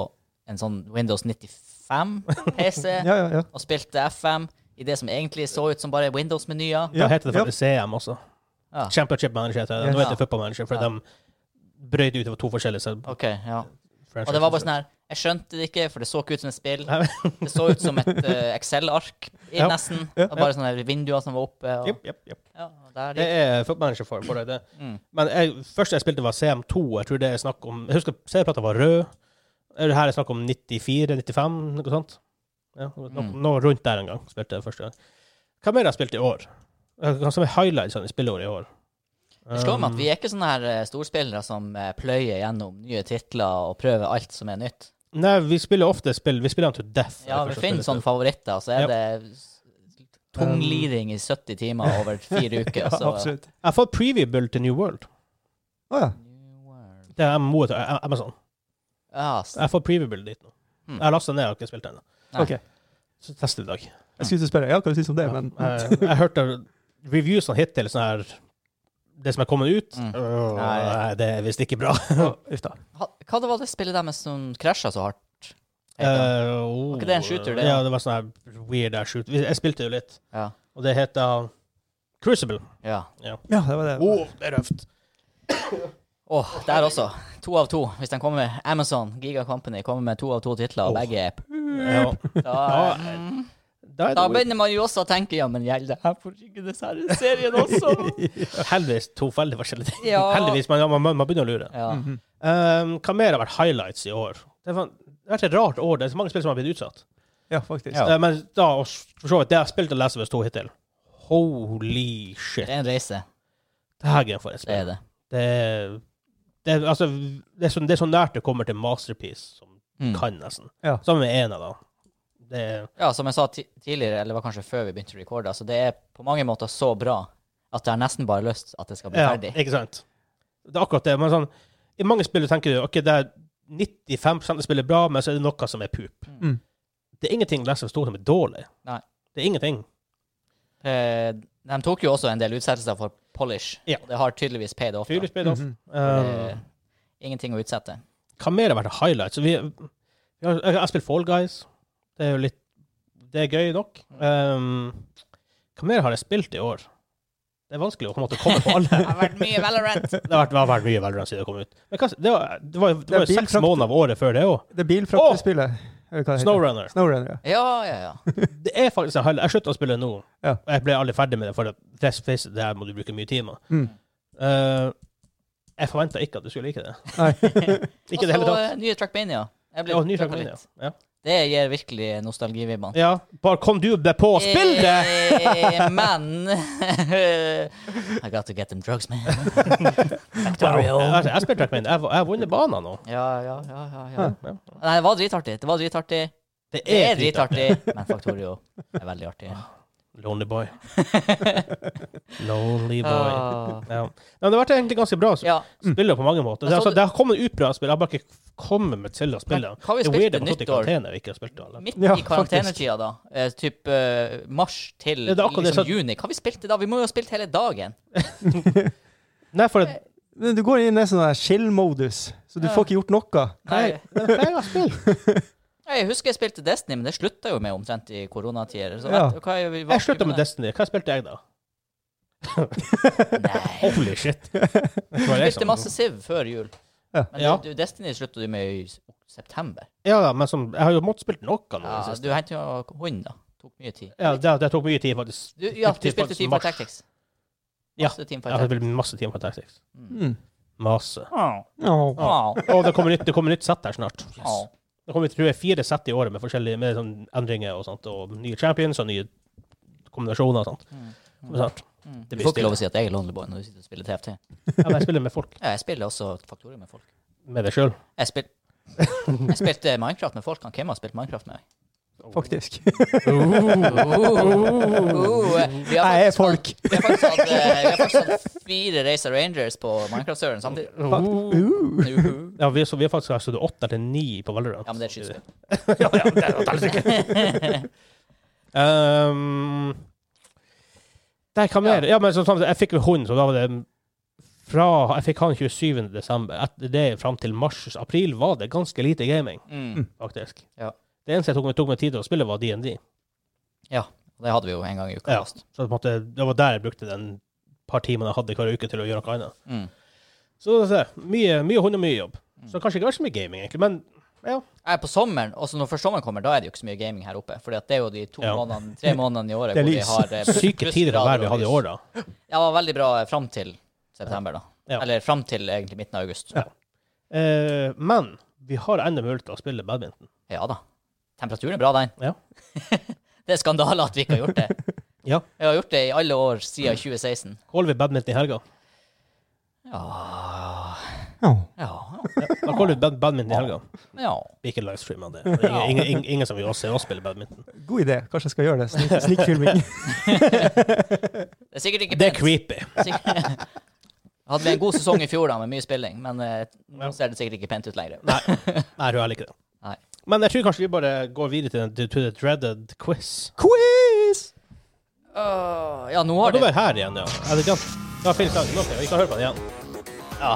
C: en sånn Windows
B: [LAUGHS]
C: 95-PC
A: Ja, ja, ja.
C: og spilte FM i det som egentlig så ut som bare Windows-menyer.
B: Da heter det faktisk CM også.
C: Ja.
B: Championship Manager heter det.
A: Yes.
B: Nå heter det Football Manager, for
C: Ja.
B: de brøyt ut over to forskjellige sub-
C: Ok, ja.
B: franchises.
C: Og det var bare sånn her Jeg skjønte det ikke, for det så ikke ut som et spill. Det så ut som et eh, Excel-ark, i
B: Ja.
C: nesten.
A: Ja.
C: Og bare sånne her vinduer som var oppe. Og,
B: Jep, Eh, jep, jep.
C: ja, og der
B: Det
C: gikk.
B: er Football Manager for, for det.
C: Mm.
B: Men jeg, første jeg spilte, var CM2. Jeg tror det er snakk om Jeg husker CD-plata var rød. Er det Her er snakk om 94-95, noe sånt. Ja, noe,
C: Mm.
B: noe rundt der en gang. spilte jeg første gang. Hva mer har jeg spilt i år? Hva som er highlightsene i spilleåret i år?
C: Det slår meg at
B: Um,
C: vi er ikke sånne her eh, storspillere som eh, pløyer gjennom nye titler og prøver alt som er nytt.
B: Nei, vi spiller ofte spill Vi spiller dem to death.
C: Ja,
B: er det
C: vi
B: første
C: finner sånn
B: spillet.
C: sånne favoritter, og så
B: Ja.
C: er det s- tungliding i 70 timer
B: [LAUGHS]
C: over fire
A: [LAUGHS]
C: uker.
A: ja
C: og så-
A: absolutt.
B: Jeg har fått preview-bull til New World.
A: Å ja.
C: New World.
B: Det er MMO til Amazon.
C: Ja, s-
B: Jeg har fått preview-bull dit nå.
C: Mm.
B: Jeg har lastet den ned, jeg har ikke spilt den ennå.
C: Nei.
A: OK.
B: Så tester vi i dag.
A: Jeg skulle til å spørre, ja, hva du syns om det,
B: Ja,
A: men eh,
B: jeg, jeg hørte reviewsene hittil, sånn her Det som er kommet ut
C: Mm.
B: øh,
C: Nei.
B: nei, det er visst [LAUGHS] ikke bra.
A: Uff da.
C: Ha- Hva det var det spillet deres som krasja så hardt? Heter det?
B: Eh, oh.
C: Var ikke det en shooter, det?
B: Ja, det var sånn her weird ass shooter. Jeg spilte jo litt,
C: Ja.
B: og det heter Crucible.
C: ja.
A: Ja, det var det.
B: Åh, det er røft.
C: Åh, der også. To av to. Hvis de kommer med Amazon, Giga Company, kommer med to av to titler, og
B: Åh.
C: begge er
B: Ja.
C: da,
B: [LAUGHS] Ja,
C: mm,
B: Da er
C: da
B: det
C: begynner man jo også å tenke ja, men gjelder det her for ikke denne serien også?
B: heldigvis to veldig forskjellige ting.
C: Ja.
B: Heldigvis, men [LAUGHS] ja, man, man begynner å lure.
C: Ja.
A: Mhm.
B: Um, hva mer har vært highlights i år? Det var- det har vært et rart år. Det er så mange spill som har blitt utsatt.
A: Ja, faktisk.
C: Ja.
B: Eh, men da, og s- for så vidt, det jeg har spilt og lest over to hittil. Holy shit.
C: Det er en reise,
B: Det her er for et
C: det er
B: spill.
C: det.
B: Det er, det er, altså, det, er så, det er så nært det kommer til masterpiece som
C: Mm.
B: kan, nesten.
A: Ja.
B: Sammen med en av dem. Det er,
C: Ja, som jeg sa ti tidligere, eller det var kanskje før vi begynte å recorde, altså det er på mange måter så bra at jeg har nesten bare lyst at det skal bli
B: ja,
C: ferdig.
B: ikke sant? Det er akkurat det. Men sånn, I mange spill du tenker du ok, det er 95 av spillet er bra, men så er det noe som er pup.
A: Mm.
B: Det er ingenting Last of Us 2 som er dårlig.
C: Nei.
B: Det er ingenting.
C: Eh, de tok jo også en del utsettelser for Polish.
B: Ja.
C: og Det har tydeligvis paid off. da.
B: Fyrlig spill, off.
A: Mhm.
C: Eh,
B: Um,
C: ingenting å utsette.
B: hva mer har vært highlights? Vi, vi har, jeg har spilt Fall Guys. Det er jo litt Det er gøy nok.
C: Mm.
B: Um, hva mer har jeg spilt i år? Det er vanskelig å på en måte komme på alle.
C: Det har vært mye Valorant.
B: Det har vært, det har vært mye Valorant siden det kom ut. Men hva, det var, det var, det
A: Det er
B: var jo seks
A: bilfrakt-
B: måneder av året før det òg.
A: Det er bilfraktespillet. eller hva det heter.
B: Snowrunner.
A: Snowrunner, ja.
C: Ja, ja, ja.
B: Det er faktisk en highlight. Jeg slutta å spille nå.
A: Ja.
B: Og jeg ble aldri ferdig med det, for at let's face it, det her må du bruke mye timer.
A: Mm.
B: Eh, jeg forventa ikke at du skulle like det.
A: Nei.
B: [LAUGHS]
A: [LAUGHS]
B: Ikke i det hele
C: Og så,
B: tatt.
C: eh, nye Trackmania. Jeg ble
B: Ja, ny
C: trøkket
B: Trackmania.
C: litt.
B: Ja.
C: Det gir virkelig nostalgivibbene.
B: ja, bare kom du deg på å spille
C: [LAUGHS]
B: det!
C: Eh, men [LAUGHS] I got to get them
B: [LAUGHS]
C: drugs, man. Factorio.
B: Jeg, altså, jeg spiller Trackman. Jeg jeg har vunnet banen nå.
C: Ja, ja, ja, ja, ja.
B: Ja.
C: Nei, det var dritartig. Det var dritartig.
B: Det Ah,
C: Det er dritartig, [LAUGHS] men Factorio er veldig artig.
B: Lonely
C: [LAUGHS]
B: boy. Lonely boy.
C: Ah.
B: Ja. Men det ble egentlig ganske bra.
C: Ja.
A: Mm.
B: Spiller på mange måter.
C: Men
B: Det,
C: så
B: altså,
C: du-
B: det har kommet ut bra spill, jeg har bare ikke kommet meg til å spille.
C: Men hva har vi
B: Det er
C: spilt
B: weird
C: til
B: at man satt i
C: nyttår?
B: karantene og ikke har spilt det alle.
C: Midt
A: Ja,
C: i karantenetida, da. Eh, typ eh, mars til
B: Ja, det er akkurat det,
C: liksom,
B: så-
C: juni. Hva har vi spilt i dag? Vi må jo ha spilt hele dagen.
B: Nei, for det,
A: Men Du går inn i en sånn der chill-modus, så du
C: Ja.
A: får ikke gjort noe.
B: nei,
C: Nei,
B: det er flere spill.
C: jeg husker jeg spilte Destiny, men det slutta jo med omtrent i koronatider. Så
A: Ja.
C: vet- hva er vi- hva
B: Jeg
C: skal vi
B: slutta med
C: med?
B: Destiny. Hva spilte jeg
C: [LAUGHS]
B: da?
C: Nei.
B: Holy shit. Det var jeg
C: Jeg spilte
B: som-
C: masse Siv før jul.
A: Ja.
C: Men
B: Ja.
C: Du, du, Destiny slutta du med i s- september.
B: Ja, da, men som, jeg har jo måttet spille noe nå. i det
C: Ja,
B: siste.
C: du henter jo hund, da. Tok mye tid.
B: Ja, det, det tok mye tid, faktisk.
C: Du, ja,
B: Tok
C: du
B: tid,
C: spilte
B: faktisk,
C: Team
B: mars.
C: Fight Tactics.
B: Ja,
C: Masse Team Fight
B: Jeg har
C: Tactics.
B: spilt masse timer på Tactics.
A: Mm.
B: Masse.
C: Åh,
A: Åh.
C: åh,
B: Og det kommer nytt, det kommer nytt sett her snart.
C: åh.
B: Det kommer tror jeg, fire sett i året med forskjellige med sånn endringer og sånt, og nye champions og nye kombinasjoner og sånt.
C: Mm.
B: Kommer snart.
C: Mm.
B: Det
C: Du
B: blir
C: får ikke
B: stille.
C: lov å si at jeg er Lonely Boy når du sitter og spiller TFT.
B: Ja, men jeg spiller med folk.
C: Ja, jeg spiller også Faktorium med folk.
B: med deg sjøl. [LAUGHS]
C: Jeg, spil jeg spilte Minecraft med folk han Kim har spilt Minecraft med.
A: faktisk.
B: Oh.
C: Vi har
A: Jeg er
C: faktisk
A: folk.
C: hatt- Vi har faktisk hatt, eh, vi har faktisk hatt fire Racer Rangers på Minecraft-serveren samtidig.
A: Uh.
C: Uhu.
B: Ja, vi, så vi har faktisk altså, det er åtte eller ni på Valorant.
C: Ja, men det er et skytespill.
B: [LAUGHS] ja, ja, det er- det er sikkert. Ehm, Nei, hva mer? Ja, men som sagt, jeg fikk jo hund, så da var det fra Jeg fikk han 27. desember. Etter det fram til mars-april var det ganske lite gaming,
C: [LAUGHS] Mm.
B: faktisk.
C: Ja.
B: Det eneste jeg tok meg, tok meg tid til å spille, var DND.
C: Det hadde vi jo en gang i uka.
B: Ja.
C: fast.
B: Så på en måte, det var der jeg brukte den par timene jeg hadde hver uke til å gjøre noe annet.
C: Mm.
B: Så det er mye, mye hund og mye jobb. Så kanskje ikke vært så mye gaming, egentlig. Men
C: Jeg er på sommeren, og så når først sommeren kommer, da er det jo ikke så mye gaming her oppe. Fordi at det er jo de to
B: Ja.
C: månedene, tre månedene i året
A: Det er
C: hvor vi
A: lys.
C: har eh, [LAUGHS]
B: syke tider av
C: plussgrader
B: hver vi
C: og
B: hadde i
C: lys.
B: år, da.
C: Ja, det var veldig bra eh, fram til september, da.
B: Ja.
C: Eller fram til egentlig midten av august.
B: Ja. Eh, men vi har enda mulighet til å spille badminton.
C: Ja da. Temperaturen er bra, den.
B: Ja.
C: [LAUGHS] det er skandale at vi ikke har gjort det.
B: Ja.
C: Vi har gjort det i alle år siden 2016.
B: Caller vi badminton i helga?
C: Ja
A: Ja.
C: Ja.
B: Da caller vi bad badminton i helga.
C: ja.
B: Vi ikke livestreamer det. Ingen, ingen, ingen, ingen som vil oss- se oss spille badminton.
A: [LAUGHS] God idé. Kanskje jeg skal gjøre det. [LAUGHS] Snik- Snikfilming.
C: Det er sikkert ikke
B: Det er
C: pent.
B: creepy.
C: Sikkert- [LAUGHS] Hadde vi en god sesong i fjor da, med mye spilling, men eh, nå ser det sikkert ikke pent ut lenger.
B: Nei, Nei, jeg liker det.
C: Nei.
B: Men jeg tror kanskje vi bare går videre til, den- to the dreaded quiz.
A: Quiz!
C: Åh, ja, nå
B: Og
C: har
B: du
C: det
B: er her igjen, ja. Er det glemt? Ja, feil sang. Ok, vi kan høre på den igjen.
C: Ja,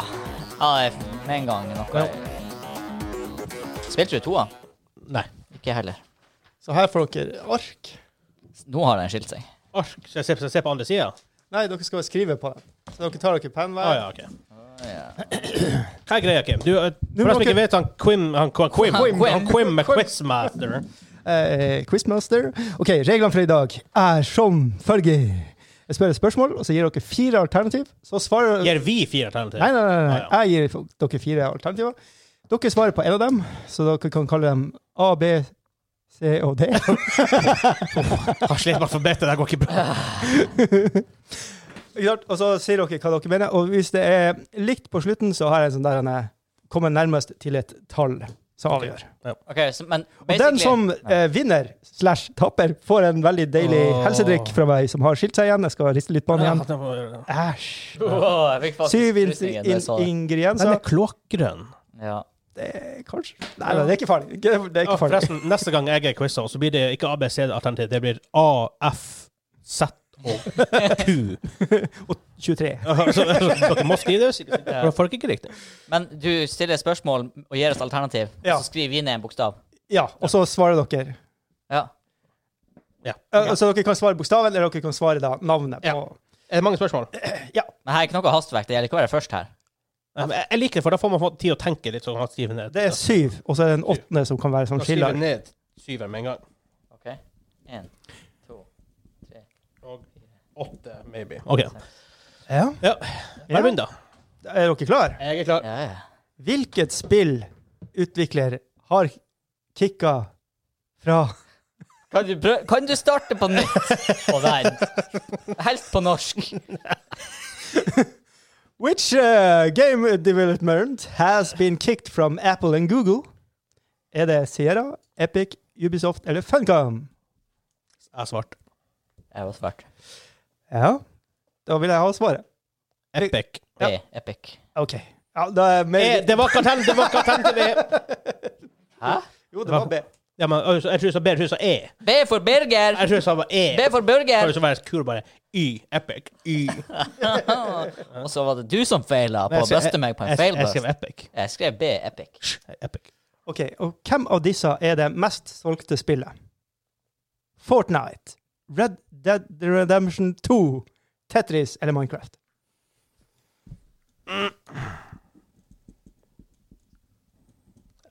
C: ja det er med en gang noe. Spilte du toa?
B: Nei.
C: Ikke heller.
A: Så her får dere ark.
C: Nå har den skilt seg.
B: Ark. Skal jeg se, skal jeg se på andre sida?
A: Nei, dere skal skrive på det. Så dere tar dere penn
B: Å
A: hver.
B: Ah, ja, OK. Hva er greia, Kim? Du, eh, for
A: må
B: dem som ikke
A: dere-
B: vet, han Quim Han Quim, Quim,
C: Han Quim.
B: han Quim er quizmaster.
A: Eh, Quizmaster. OK, reglene for i dag er som følger. Jeg spør et spørsmål, og så gir dere fire alternativ. Så svarer
B: Gir vi fire alternativer?
A: Nei, nei, nei,
B: Ah,
A: nei. Jeg gir dere fire alternativer. Dere svarer på én av dem, så dere kan kalle dem A, B, C og
B: [LAUGHS]
A: D.
B: Han sliter med alfabetet, det går ikke bra.
A: Ikke sant? Og så sier dere hva dere mener, og hvis det er likt på slutten, så har jeg en sånn der en eh, kommer nærmest til et tall som avgjør.
C: Ok, så, men
A: Og den
C: basically
A: som eh, vinner slash tapper, får en veldig deilig
B: Åh.
A: helsedrikk fra meg som har skilt seg igjen. Jeg skal riste litt på den igjen.
B: Ja, det var-
A: Æsj.
C: Åh, jeg fikk faktisk
A: Syv in
C: frysningen da jeg
A: in
C: så
B: Den
C: det.
B: er
A: ingredienser.
B: kloakgrønn.
C: Ja.
A: Det er kanskje Nei, nei, det er ikke farlig. Det er- Det er
B: Ja,
A: ikke farlig.
B: forresten, neste gang jeg er quiza, så blir det ikke ABC-alternativ, det blir A, F, Z og
C: [LAUGHS]
B: Q.
A: 23.
B: Så- så Dere må skrive det, sikkert. For da får dere ikke riktig.
C: Men du stiller spørsmål og gir oss alternativ,
A: Ja.
C: og så skriver vi ned en bokstav.
A: Ja, og så svarer dere.
C: Ja.
B: Ja.
A: Eh, Så dere kan svare bokstaven, eller dere kan svare da navnet
B: Ja.
A: på
B: Er det mange spørsmål?
C: Men her er ikke noe hastverk, det gjelder ikke å være først her.
B: Nei, men Jeg jeg liker det, for da får man få tid å tenke litt. sånn at skriver ned.
A: Det er syv, og så er det en åttende som kan være
B: Da
A: sånn
B: skriver
A: skiller.
B: jeg ned syveren med en gang.
C: Ok. En, to, tre.
B: Og åtte, maybe. OK.
A: Ja.
B: Ja.
A: Ja.
B: Hver runde.
A: Er dere klar?
B: Jeg er klar.
C: Ja, ja.
A: Hvilket spill utvikler har kicka fra
C: Kan du, prø kan du starte
B: [LAUGHS]
C: på nytt? Å nei. Helst på norsk.
A: Which uh, game development has been kicked from Apple and Google? Er det Sierra, Epic, Ubisoft eller Funcom?
B: Jeg har svart.
C: Jeg var svart.
A: Ja, da vil jeg ha svaret.
B: Epic.
C: Det er epic.
A: OK. Ja, da er
B: Eh,
A: med...
B: Det var ikke alternativ, det var ikke alternativ. E.
C: Hæ?
A: Jo, det var B.
B: Ja, men ø, så- jeg tror jeg sa B, jeg tror jeg sa E.
C: B for Birger.
B: Jeg tror jeg sa bare E.
C: B for Burger.
B: Bare så være kul, bare Y, epic, Y. [LAUGHS]
C: Ah. Og så var det du som feila på å buste meg på en
B: Jeg-
C: feil
B: Jeg
C: bust.
B: skrev epic.
C: Jeg skrev B, epic.
B: Epic.
A: OK, og hvem av disse er det mest solgte spillet? Fortnite, Red Dead Redemption 2, Tetris eller Minecraft?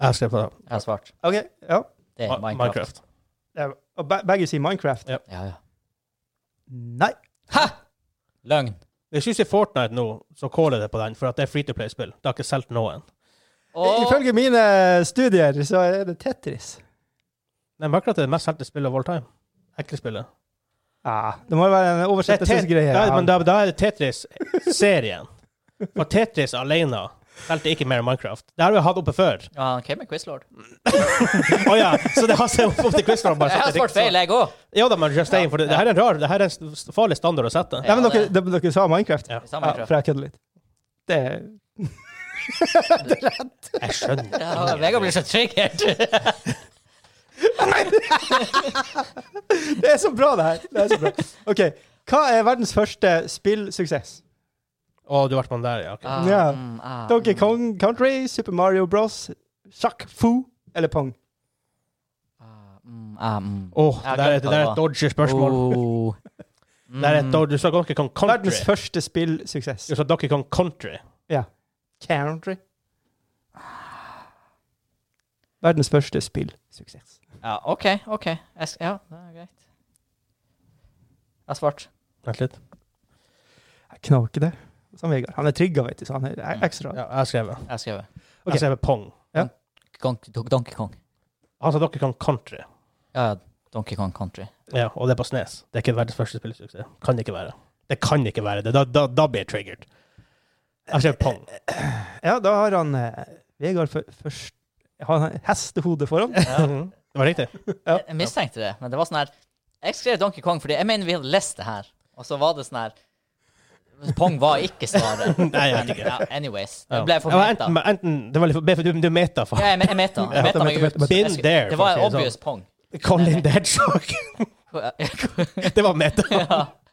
B: Jeg skrev på det.
C: Jeg har svart.
A: OK, ja.
C: Det er
B: Ma-
C: Minecraft.
B: Minecraft.
A: Det er- Og be- begge sier Minecraft.
B: Ja.
C: Ja, ja.
A: Nei.
C: Hæ?! Løgn.
B: Hvis du sier Fortnite nå, så caller jeg det på den, for at det er free to play-spill. Det har ikke solgt noen.
C: Og
A: Ifølge mine studier så er det Tetris.
B: Nei, Minecraft er det mest solgte spillet of all time. Ekle spillet.
A: Ja, det må jo være en
B: Det er Tet-
A: oversettelsesgreie.
B: Ja, men
A: Ja.
B: da, da er det Tetris-serien. For Tetris alene Spilte ikke mer Minecraft. Det har vi hatt oppe før.
C: Ja, han came med Quizlord.
B: Å ja, så det har seg opp til quiz.
C: [LAUGHS] Jeg har svart feil, jeg òg!
B: Ja da, men Just Saying, for det, det her er en rar, det her er en s- farlig standard å sette.
A: Nei, men dere, det, dere sa Minecraft?
B: Ja.
C: Vi sa
A: Ja,
C: Minecraft.
A: for jeg kødder litt. Det er
B: Jeg skjønner.
C: Ja, Vegard blir så triggert.
A: Det er så bra, det her! Det er så bra. OK. Hva er verdens første spillsuksess?
B: Å, du ble man der, ja. ok.
C: Ah,
A: Ja.
C: mm, ah,
A: Donkey
C: mm.
A: Kong Country, Super Mario Bros, Sjakk Fu eller Pong?
C: Ah, mm, ah, mm.
B: Åh,
C: Jeg
B: det der er-
C: glemte
B: det der
C: hva det
B: er
C: var.
B: et dodgy spørsmål.
C: Oh.
B: [LAUGHS] Det der er et
C: Mm.
B: dodgy, du sa Donkey Kong Country.
A: Verdens første spillsuksess.
B: Du sa Donkey Kong Country.
A: Ja. Country. Verdens første spillsuksess.
C: Ja, OK, OK. Jeg, sk- ja, det er greit. Jeg har svart.
B: Vent litt.
A: Jeg knaker det. Som Vegard. Han er trigga, vet du, så han er e- ekstra.
B: Ja, jeg skrev det.
C: Jeg har skrevet
B: Jeg skrev Pong.
C: Gon- Do- Donkey Kong.
B: Han sa Donkey Kong Country.
C: Ja, ja, Donkey Kong Country.
B: Ja, og det er på Snes. Det er ikke verdens første spillsuksess. Kan ikke være. Det kan ikke være det. Da, da, da blir jeg triggered. Jeg skrev Pong.
A: Ja, da har han eh, Vegard fø- først Har han hestehode foran?
B: Det var riktig.
A: Ja.
C: Jeg, jeg mistenkte det, men det var sånn her Jeg skrev Donkey Kong fordi jeg mener vi hadde lest det her, og så var det sånn her Pong var ikke svaret.
B: [LAUGHS] Nei, jeg vet ikke.
C: Ja, anyways.
B: Ja.
C: Det ble for
B: Ja, men
C: meta.
B: enten, enten, det var litt for, ble for- du, du meta for
C: Ja, jeg, me- jeg meta. Jeg meta meg ut.
B: Been
C: Jeg skulle-
B: there,
C: Det
B: for å
C: var
B: si det sånn.
C: obvious Pong.
B: [LAUGHS] Colin the Hedgehog. [LAUGHS] det var meta.
C: ja,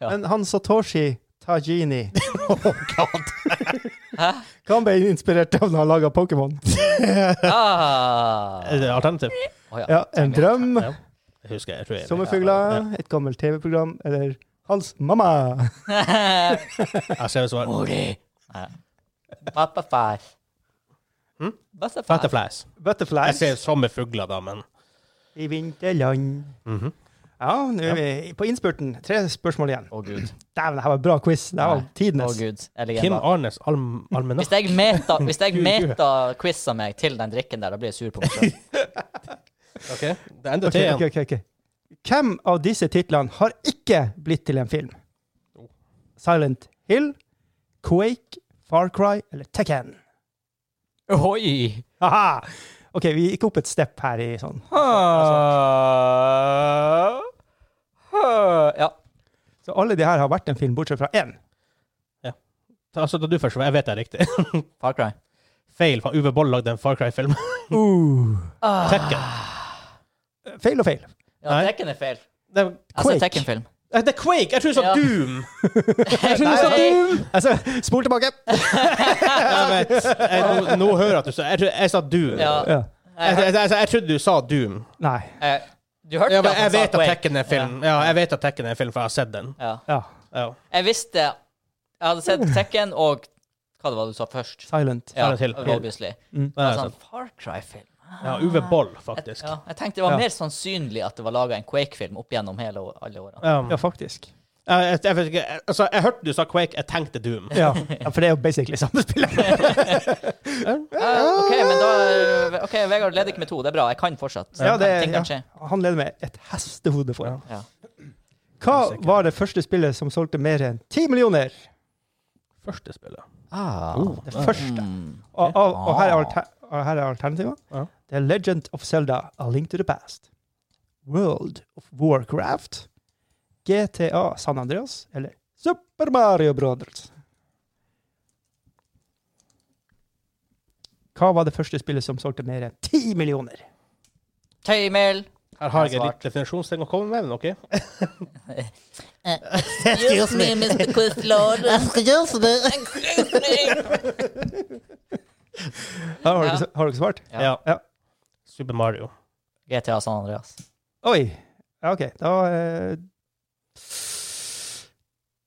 C: ja.
A: Men han Satoshi Tajini Hva han ble inspirert av når han laga Pokémon?
C: [LAUGHS] Ah.
B: Er det Alternativ.
C: Å ja.
A: Ja, en
C: [LAUGHS]
A: drøm.
B: Ja. Jeg husker, jeg tror jeg
A: Sommerfugler, et gammelt TV-program, eller Hans mamma.
B: Jeg skrev svar.
C: Mori. Ja. Butterfly.
B: Hm?
C: Butterfly.
B: Butterflies. Jeg
A: Butterflies
B: skrev sommerfugler, da, men
A: i vinterland.
B: Mhm.
A: Ja, nå er vi på innspurten. Tre spørsmål igjen.
C: Å gud.
A: Dæven, det her var en bra quiz. Det her var
C: Nei. Å
A: tidenes.
C: gud. Jeg ligger
B: Kim
C: bak.
B: Arnes alm almanakk.
C: Hvis jeg meta, hvis jeg
B: [LAUGHS] Gud, gud.
C: meta quiza meg til den drikken der, da blir jeg sur på meg selv.
B: Okay. Det er enda
A: Ok,
B: til
A: ok,
B: igjen.
A: ok, ok. Hvem av disse titlene har ikke blitt til en film? Silent Hill, Quake, Far Cry eller Tekken?
C: Oi!
A: Haha! OK, vi gikk opp et step her i sånn.
C: Ja.
A: Så alle de her har vært en film, bortsett fra én.
B: Altså, da du først, jeg vet det er riktig. [LAUGHS]
C: Far Cry.
B: Feil, for Uwe Boll lagde en Far Cry-film. [LAUGHS]
A: Uh,
B: Tekken.
A: feil og feil.
C: Ja, Tekken er feil.
B: Det er
C: Altså,
A: Quake.
B: [LAUGHS]
C: Tekken-film.
B: Eh, det er Quake! Jeg tror du sa
C: Ja.
B: [LAUGHS] Doom!
C: Jeg
B: trodde du sa
A: Altså, spol
C: [LAUGHS]
A: tilbake!
B: Jeg vet. Jeg, nå, nå hører jeg at du sa Jeg, tror- jeg sa Doom.
C: Ja.
A: Ja.
B: Jeg, jeg, jeg, jeg trodde du sa Doom.
A: Nei.
C: Eh, Du hørte
B: Ja, men
C: at han
B: jeg
C: sa
B: vet at
C: Quake.
B: Tekken er film. Ja, jeg vet at Tekken er film, for jeg har sett den.
C: Ja.
A: Ja.
B: Ja.
C: Jeg visste Jeg hadde sett Tekken og Hva det var du sa først?
A: Silent.
C: Ja,
B: Silent Hill.
C: obviously.
A: Mm.
B: Det har jeg
C: Altså,
B: sett.
C: en Far Cry-film.
B: Ja, Uwe Boll,
C: Jeg,
B: faktisk.
C: ja, jeg tenkte det var
A: Ja.
C: mer sannsynlig at det var laga en Quake-film opp gjennom hele, å- alle årene.
B: Um,
A: Ja, faktisk.
B: jeg, jeg, jeg, vet ikke, jeg- altså, jeg hørte du sa Quake, jeg tenkte Doom.
A: Ja. ja, for det er jo basically samme
B: [LAUGHS]
A: spillet.
C: Ja, OK, men da eh, Ok, Vegard leder ikke med to. Det er bra. Jeg kan fortsatt.
A: Ja, det,
C: Ting kan
A: ja.
C: skje.
A: Han leder med et hestehode foran.
C: Ja.
A: Hva
B: Sikkert.
A: var det første spillet som solgte mer enn ti millioner?
B: Første spillet.
C: Ah.
A: Det første.
C: Mm.
A: Og, og, og her er, alter, og her er alternativet.
B: Ja.
A: The Legend of Zelda, A Link to the Past. World of Warcraft. GTA San Andreas. Eller Super Mario Brothers. Hva var det første spillet som solgte mer enn ti millioner?
C: Tøymel.
B: Her har jeg
C: Jeg
B: en
C: har
B: litt definisjonsting å komme med, men OK?
C: Eh, Excuse me, Mr. Quizlord. Excuse me.
A: Har
C: Ja.
A: dere, har dere svart?
C: Ja.
B: Ja.
A: Ja.
B: Super Mario.
C: GTA San Andreas.
A: Oi. Ja, OK. Da eh,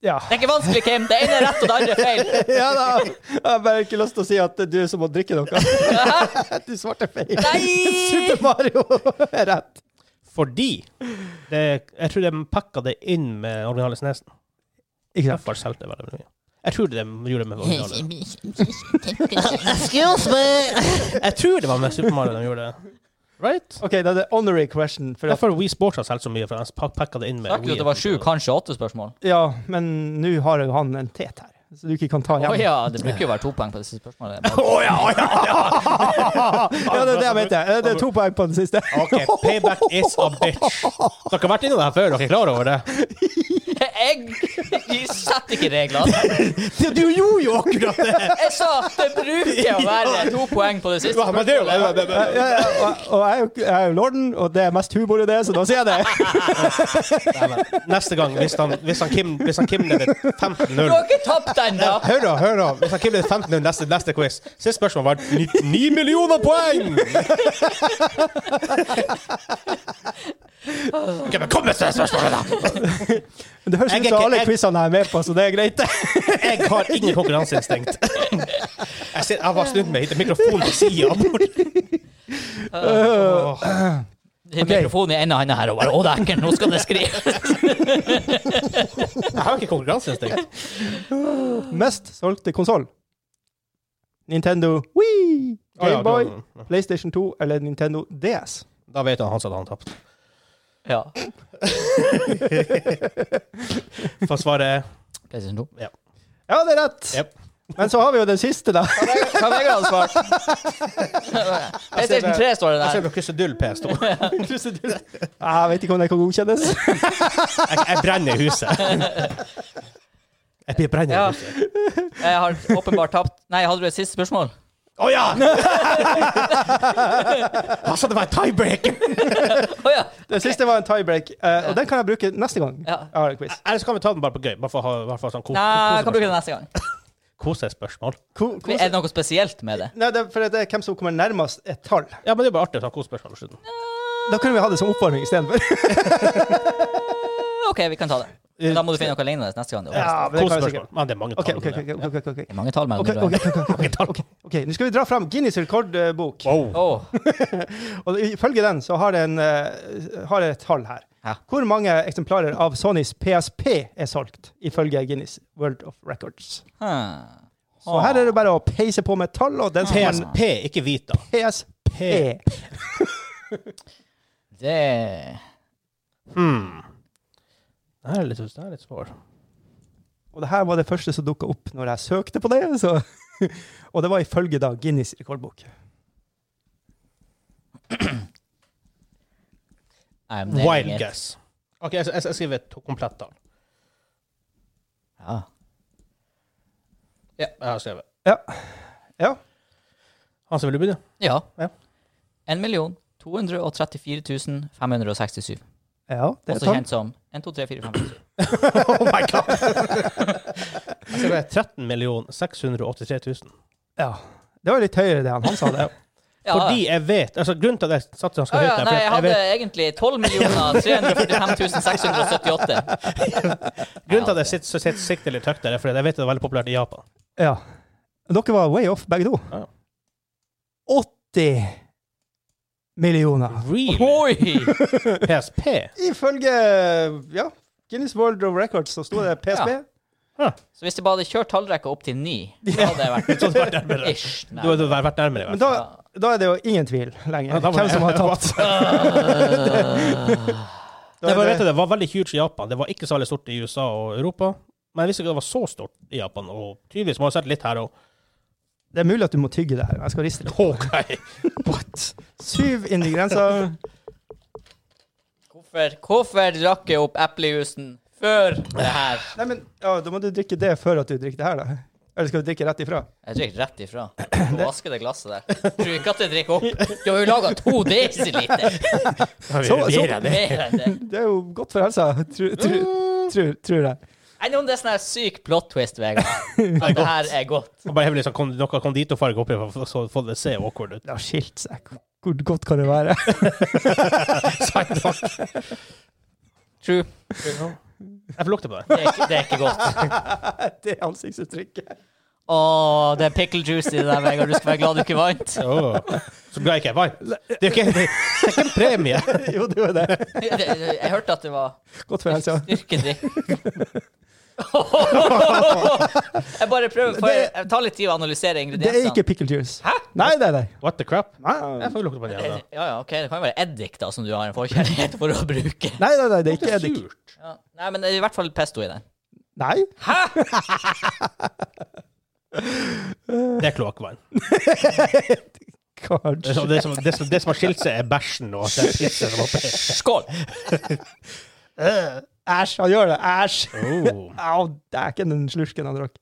A: Ja.
C: Det er ikke vanskelig, Kim. Det ene er rett, og det andre er feil.
A: [LAUGHS] ja da. Jeg har bare ikke lyst til å si at du er som å drikke
C: [LAUGHS]
A: noe. [LAUGHS] Du svarte feil.
C: Nei!
A: Super Mario er rett.
B: Fordi det, jeg tror de pakka det inn med originale Snesen.
A: Ikke sant?
B: Derfor solgte det veldig mye. Jeg tror de gjorde det med originale.
C: Excuse me.
B: [LAUGHS] Jeg tror det var med Super Mario de gjorde det. Right?
A: OK, da er det honorary question. For at,
B: Derfor We Sports har solgt så mye, for de pakka det inn med
C: Sagt jo at det var sju, kanskje åtte spørsmål.
A: ja, men nå har jo han en tet her. så du ikke kan ta
C: Å
A: hjem.
C: ja, det bruker jo å være to poeng på disse spørsmålene.
B: Å ja, å ja,
A: [LAUGHS] Ja, det er det jeg mente. Eh, Det er to poeng på den siste.
B: OK, payback is a bitch. Dere har vært innom det her før, dere er klar over det?
C: Jeg, jeg setter ikke reglene.
B: Du gjorde jo akkurat det!
C: Jeg sa at det bruker å være to poeng på det siste.
B: Men det er jo
A: Ja, ja, og, og jeg er jo- jeg er jo lorden, og det er mest humor i det, så da sier jeg det.
B: Neste gang, hvis han, hvis han Kim, hvis han Kim leder 15-0
C: Du har ikke tapt ennå!
B: Hør da, hør da. Hvis han Kim leder 15-0 neste, neste quiz, så er spørsmålet vært 9 millioner poeng! Ok, men kom med spørsmålet, da!
A: Men det høres
B: Jeg
A: ut som
B: er ikke-
A: alle
B: jeg-
A: quizene jeg er med på, så det er greit.
B: Jeg har ingen konkurranseinstinkt. Jeg, ser, jeg var snudd meg hit. Mikrofonen på sida.
C: Mikrofonen i ene hånda her og bare 'Å, det er ekkelt, nå skal det skrives'.
B: Jeg har ikke konkurranseinstinkt.
A: Mest solgte konsoll? Nintendo Wii,
B: Å ja,
A: Gameboy,
B: du- ja.
A: PlayStation 2 eller Nintendo DS?
B: Da vet han Hans at han tapte.
C: Ja.
B: For svaret er
C: PlayStation 2.
B: ja.
A: Ja, det er rett!
B: Jep.
A: Men så har vi jo den siste, da.
C: Hva har Vegard svart? PlayStation 3 står det
B: Jeg ser
C: der.
B: på krusedull PS2.
A: Jeg vet ikke om det kan godkjennes.
B: Jeg, jeg brenner huset. Jeg blir brenner
C: Ja.
B: huset.
C: Jeg har åpenbart tapt. Nei, hadde du et siste spørsmål?
B: Å ja! [LAUGHS] altså, det var en tiebreaker!
C: Å ja.
A: Den siste var en tiebreak, eh, og den kan jeg bruke neste gang
C: Ja.
A: jeg har en quiz.
B: Eller så kan vi ta den bare på gøy. Bare for å ha bare for å ha sånn kos-
C: Nei, jeg kan bruke det
B: kosespørsmål.
C: neste gang.
B: Kosespørsmål.
A: Ko- kos-
C: Er det noe spesielt med det?
A: Nei, det er for det er hvem som kommer nærmest et tall.
B: Ja, men det er bare artig å ta kosespørsmål på slutten.
A: Da kunne vi ha det som oppvarming istedenfor.
C: OK, vi kan ta det. Men Da må du finne noe lignende neste gang. Det
A: Ja, men det kan jeg
B: Kosespørsmål.
A: sikkert.
B: Men det er mange
A: OK,
B: tall.
A: OK, OK. ok, ok, ok.
C: er mange tall mellom
A: Ok,
C: de
A: ok, ok,
C: brødrene.
A: ok, ok, ok. Ok, Nå skal vi dra fram Guinness rekordbok.
B: Wow.
C: Åh,
A: Og ifølge den så har det en, eh, har det et tall her.
C: Ja.
A: Hvor mange eksemplarer av Sonys PSP er solgt, ifølge Guinness World of Records?
C: hm.
A: Så her er det bare å peise på med tall, og den som har en
B: PSP, ikke Vita.
A: PSP
C: Det
B: Hmm. Det her er litt, det her er litt svår.
A: Og det her var det første som dukka opp når jeg søkte på det. Så. [LAUGHS] Og det var ifølge da Guinness rekordbok.
C: Nei, men det er
B: Wild
C: inget.
B: guess. OK, jeg, jeg, jeg skriver et komplett tall.
C: Ja.
B: Ja, jeg har skrevet.
A: Ja. Ja.
B: Hans, vil du begynne?
C: ja.
B: Ja.
C: 1 million 234 567.
A: ja det er
C: Også
A: tall.
C: kjent som 1, 2, 3, 4, 5, 6.
B: Oh my god! Jeg skrev 13 683 000.
A: Ja. Det var litt høyere det han, han sa. det.
B: [CLEARS THROAT]
C: Ja,
B: Fordi jeg vet altså Grunnen til at jeg satte han skal
C: ja, ja,
B: høyt der,
C: nei,
B: for
C: jeg
B: jeg
C: hadde
B: vet,
C: egentlig 12 345 678.
B: grunnen til at jeg sitter, så sitter, sikter litt høyt der, er fordi jeg vet at det er veldig populært i Japan.
A: Ja. Dere var way off, begge to.
B: Ja.
A: 80 millioner.
B: Really?
C: Oi!
B: PSP?
A: Ifølge ja, Guinness World of Records så sto det PSP.
C: Ja. Så hvis de bare hadde kjørt tallrekka opp til 9, så
B: [LAUGHS]
C: hadde jeg vært
B: Så det var nærmere.
C: ish.
B: Du hadde vært nærmere, i
A: Men
B: hvert fall.
A: da, da er det jo ingen tvil lenger
B: Ja, da var
A: hvem
B: det-
A: som har tatt.
B: [LAUGHS]
A: [LAUGHS] Da
B: Jeg
A: er
B: bare
A: det-
B: vet at det var veldig huge i Japan. Det var ikke så veldig stort i USA og Europa. Men jeg visste ikke at det var så stort i Japan, og tydeligvis må jeg ha sett litt her
A: [LAUGHS]
B: og
A: Det er mulig at du må tygge det her. Jeg skal riste litt.
B: OK!
A: What? Syv inn i grensa.
C: Hvorfor, hvorfor drakk jeg opp eplejusen før det her?
A: Nei, men ja, Da må du drikke det før at du drikker det her, da. Eller skal du drikke rett ifra?
C: Jeg drikker rett ifra.
B: [CLEARS THROAT]
C: Og vasker det glasset der. Tror ikke at jeg drikker opp. Du har jo laga to desiliter!
A: Så- så-
B: Mer enn det.
C: Mer enn det.
A: Det er jo godt for helsa, tror tru, tru, tror jeg.
C: Enn om det er sånn her syk plot twist, Vegard. At [LAUGHS] det her er godt.
B: Og bare hev litt sånn kon- noe konditorfarge oppi for så får det se awkward ut.
A: Det har skilt seg. Hvor- Hvor godt kan det være? [LAUGHS]
B: Sant nok.
C: True.
B: Jeg får lukte på det.
C: Det er ikke, det er ikke godt.
A: det ansiktsuttrykket. [LAUGHS]
C: Å, det er pickle juice i det der, Vegard. Du skal være glad du ikke vant.
B: Åh. Så glad jeg ikke er varm. Det er jo ikke, det er ikke en premie.
A: jo, det var det.
C: [LAUGHS] Det- det- Jeg hørte at det var
A: Godt for helsa.
C: [LAUGHS] styrkedrikk. Jeg bare prøver, for jeg, jeg tar litt tid å analysere
A: Det er
C: ingrediensene.
A: ikke pickle juice. Hæ? Nei, nei, nei.
B: What the crap?
A: Nei,
B: Jeg får lukte på den igjen. da.
C: Ja, ja, ok, Det kan jo være eddik da, som du har en forkjærlighet for å bruke.
A: nei, nei, det er ikke eddik.
B: Surt.
C: Ja. Nei, men det er i hvert fall pesto i den.
A: Nei.
B: Det er kloakkvann. Det,
A: Kanskje.
B: som- det, som- det, som- det som har skilt seg, er bæsjen og den pissen som var oppi.
C: [LAUGHS] Skål!
A: Øh, Æsj, han gjør det. Æsj.
B: Oh.
A: Au, dæken, den slurken han drakk.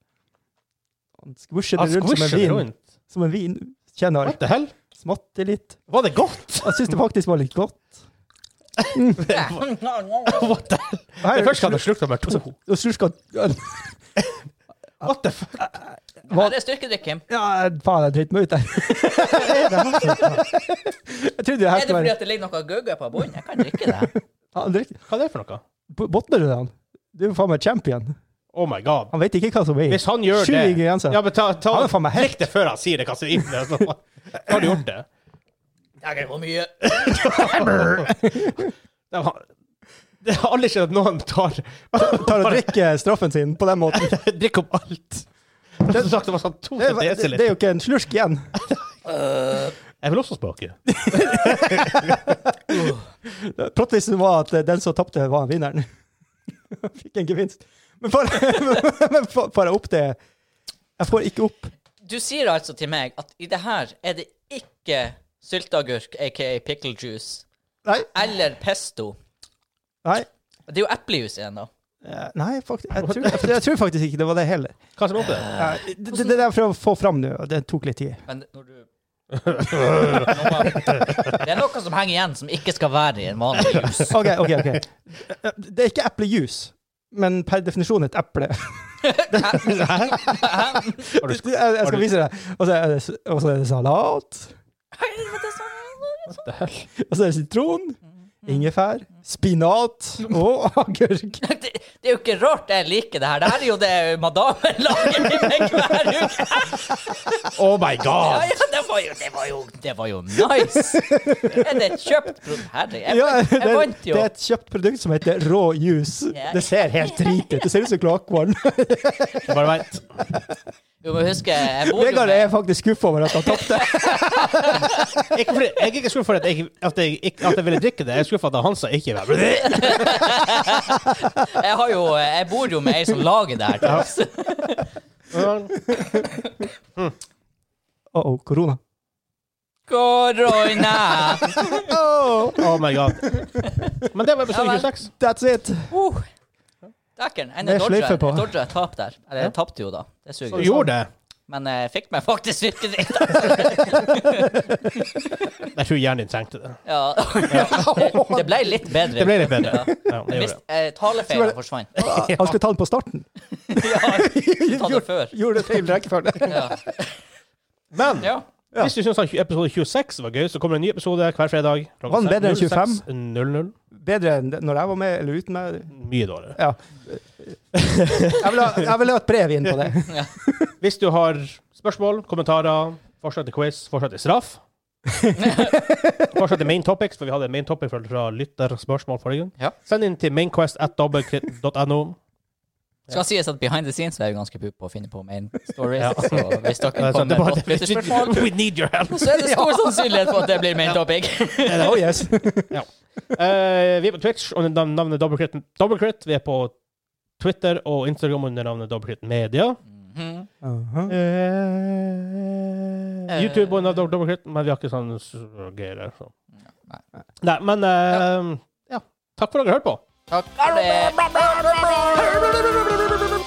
A: Han squisher
B: Han
A: det rundt som en
B: squisher det
A: vin.
B: Altså, rundt.
A: Som en vin. Kjenner.
B: What the hell?
A: Smatter litt.
B: Var det
A: [LAUGHS]
B: godt?
A: Jeg syns det faktisk var litt godt.
B: What the hell?
A: Her,
B: Det første han har slukt, nummer to.
A: Og slurka
B: What the fuck?
C: Ja, det er styrkedrikk, Kim.
A: Ja, faen, jeg driter meg
B: [LAUGHS]
A: ut der. jeg trodde det her
C: Er det
A: skulle
C: fordi
A: være
C: at det ligger noe gugge på bunnen? Jeg kan [LAUGHS] drikke det.
A: Han drikker-
B: Hva er det for noe?
A: B- Botner du det, han? Du er jo faen meg champion.
B: Oh my god.
A: Han vet ikke hva som er i.
B: Hvis han gjør
A: Sju
B: det
A: ingredienser.
B: Ja, men ta, ta,
A: Han er faen meg helt-
B: Drikk det før han sier det, hva som er i det. så- Har du gjort
A: [LAUGHS]
B: det?
C: Jeg er for mye.
B: Det var- Det har aldri skjedd at noen tar
A: [LAUGHS] Tar og drikker straffen sin på den
B: [LAUGHS]
A: måten.
B: drikker opp alt. Det er som sagt, det var sånn
A: Det,
B: 200
A: er- det, det
B: desiliter.
A: er jo ikke en slurk igjen.
B: Jeg vil også smake.
A: Prottisen var at den som tapte, var vinneren. [LAUGHS] Fikk en gevinst. Men får [LAUGHS] men får- får jeg opp det Jeg får ikke opp.
C: Du sier altså til meg at i det her er det ikke sylteagurk, aka pickle juice,
A: Nei.
C: eller pesto.
A: Nei,
C: Det er jo eplejus igjen, da.
A: Eh, nei faktisk, jeg, tror, jeg, jeg tror faktisk ikke det var det heller.
B: Hva som
A: [LAUGHS]
B: er oppi det?
A: Eh, Det, det, det der for å få fram nå, og det tok litt tid.
C: Men når du Det er noe som henger igjen, som ikke skal være i en vanlig jus.
A: OK, OK. ok. Eh, Det er ikke eplejuice, men per definisjon et eple.
B: Har du
A: [LAUGHS] Jeg, jeg skal vise deg. Og så er det, og så er det salat.
C: Helvete, sånn.
B: What the hell?
A: Og så er det sitron.
C: Mm.
A: Ingefær. Spinat. Og [LAUGHS] agurk.
C: Det, det er jo ikke rart jeg liker det her. Det her er jo det madammen lager til meg hver uke.
B: Oh my
C: Ja,
B: god!
C: ja, det var jo Det var jo, det var jo nice. Er det et kjøpt produkt? Herre, jeg,
A: Ja,
C: vant-
A: det,
C: jeg
A: er-
C: vant
A: det
C: jo.
A: er et kjøpt produkt som heter rå juice.
C: Ja.
A: Det ser helt drit ut. Det ser ut
C: [LAUGHS]
A: som kloakkvann.
B: Jeg bare veit.
C: Du må huske, jeg bor jo
A: Vegard
C: med
A: er faktisk skuffa over at han tapte.
B: Ikke fordi, jeg er ikke skuffet for at jeg, at, jeg, ikke- at jeg ville drikke det. Jeg er skuffet for at Hansa ikke var med.
C: Jeg, har jo, jeg bor jo med ei som lager det her til oss.
A: Åh, åh, korona.
C: Korona!
A: Åh,
B: Oh my god. Men det var episode 26.
A: that's it.
C: Uh. Dækeren. Jeg
A: Med
C: dodger
A: sløyfe på.
C: dodger et tap der. Eller jeg tapte jo, da. Det
B: Du
C: suger. jo.
B: gjorde det.
C: Men jeg fikk meg faktisk
B: [LAUGHS]
C: styrkedrikk.
B: Jeg tror hjernen din trengte det.
C: Ja. Det, det ble litt bedre.
B: Det ble litt bedre. Ja, det
C: Jeg
B: gjorde
C: mist-
B: det.
C: eh, Talefeilen forsvant.
A: Han skulle ta den på [LAUGHS] starten.
C: Ja, ta det
B: [LAUGHS]
C: før.
A: Gjorde det feil rekkefølge.
C: Ja.
B: Men
C: ja.
B: hvis du syns episode 26 var gøy, så kommer det en ny episode hver fredag. klokka
A: Var den bedre enn
B: 06 00.
A: Bedre enn det- når jeg var med, eller uten meg.
B: Mye dårligere. [LAUGHS]
A: Ja. Jeg vil ha, jeg vil ha et brev inn på [LAUGHS] det.
B: Hvis du har spørsmål, kommentarer, forslag til quiz, forslag til straff Forslag til main topics, for vi hadde main topic fra- fra lytterspørsmål forrige gang.
C: Ja.
B: Send inn til mainquest.no.
C: Skal sies at behind the scenes er jo ganske pup på å finne på main stories.
B: [LAUGHS] Ja.
C: Så hvis dere
B: Altså,
C: kommer
B: det er
C: med
B: bare-
C: godt
B: [LAUGHS]
C: lytterspørsmål,
B: We need your help!
C: [LAUGHS] så er det stor sannsynlighet for at det blir main topic.
A: Oh yes.
B: Eh, vi er på Twitch under nav- navnet Dobbelkritt. Dobbelkritt. Vi er på Twitter og Instagram under navnet Dobbelkritt Media.
C: [LAUGHS] Mhm.
A: Aha.
B: Eh, YouTube under Dob- Dobbelkritt, men vi har ikke sånn s- greier der. Så.
C: Nei.
B: Nei, men eh, ja. Takk for at dere hørte på.
C: Takk for det.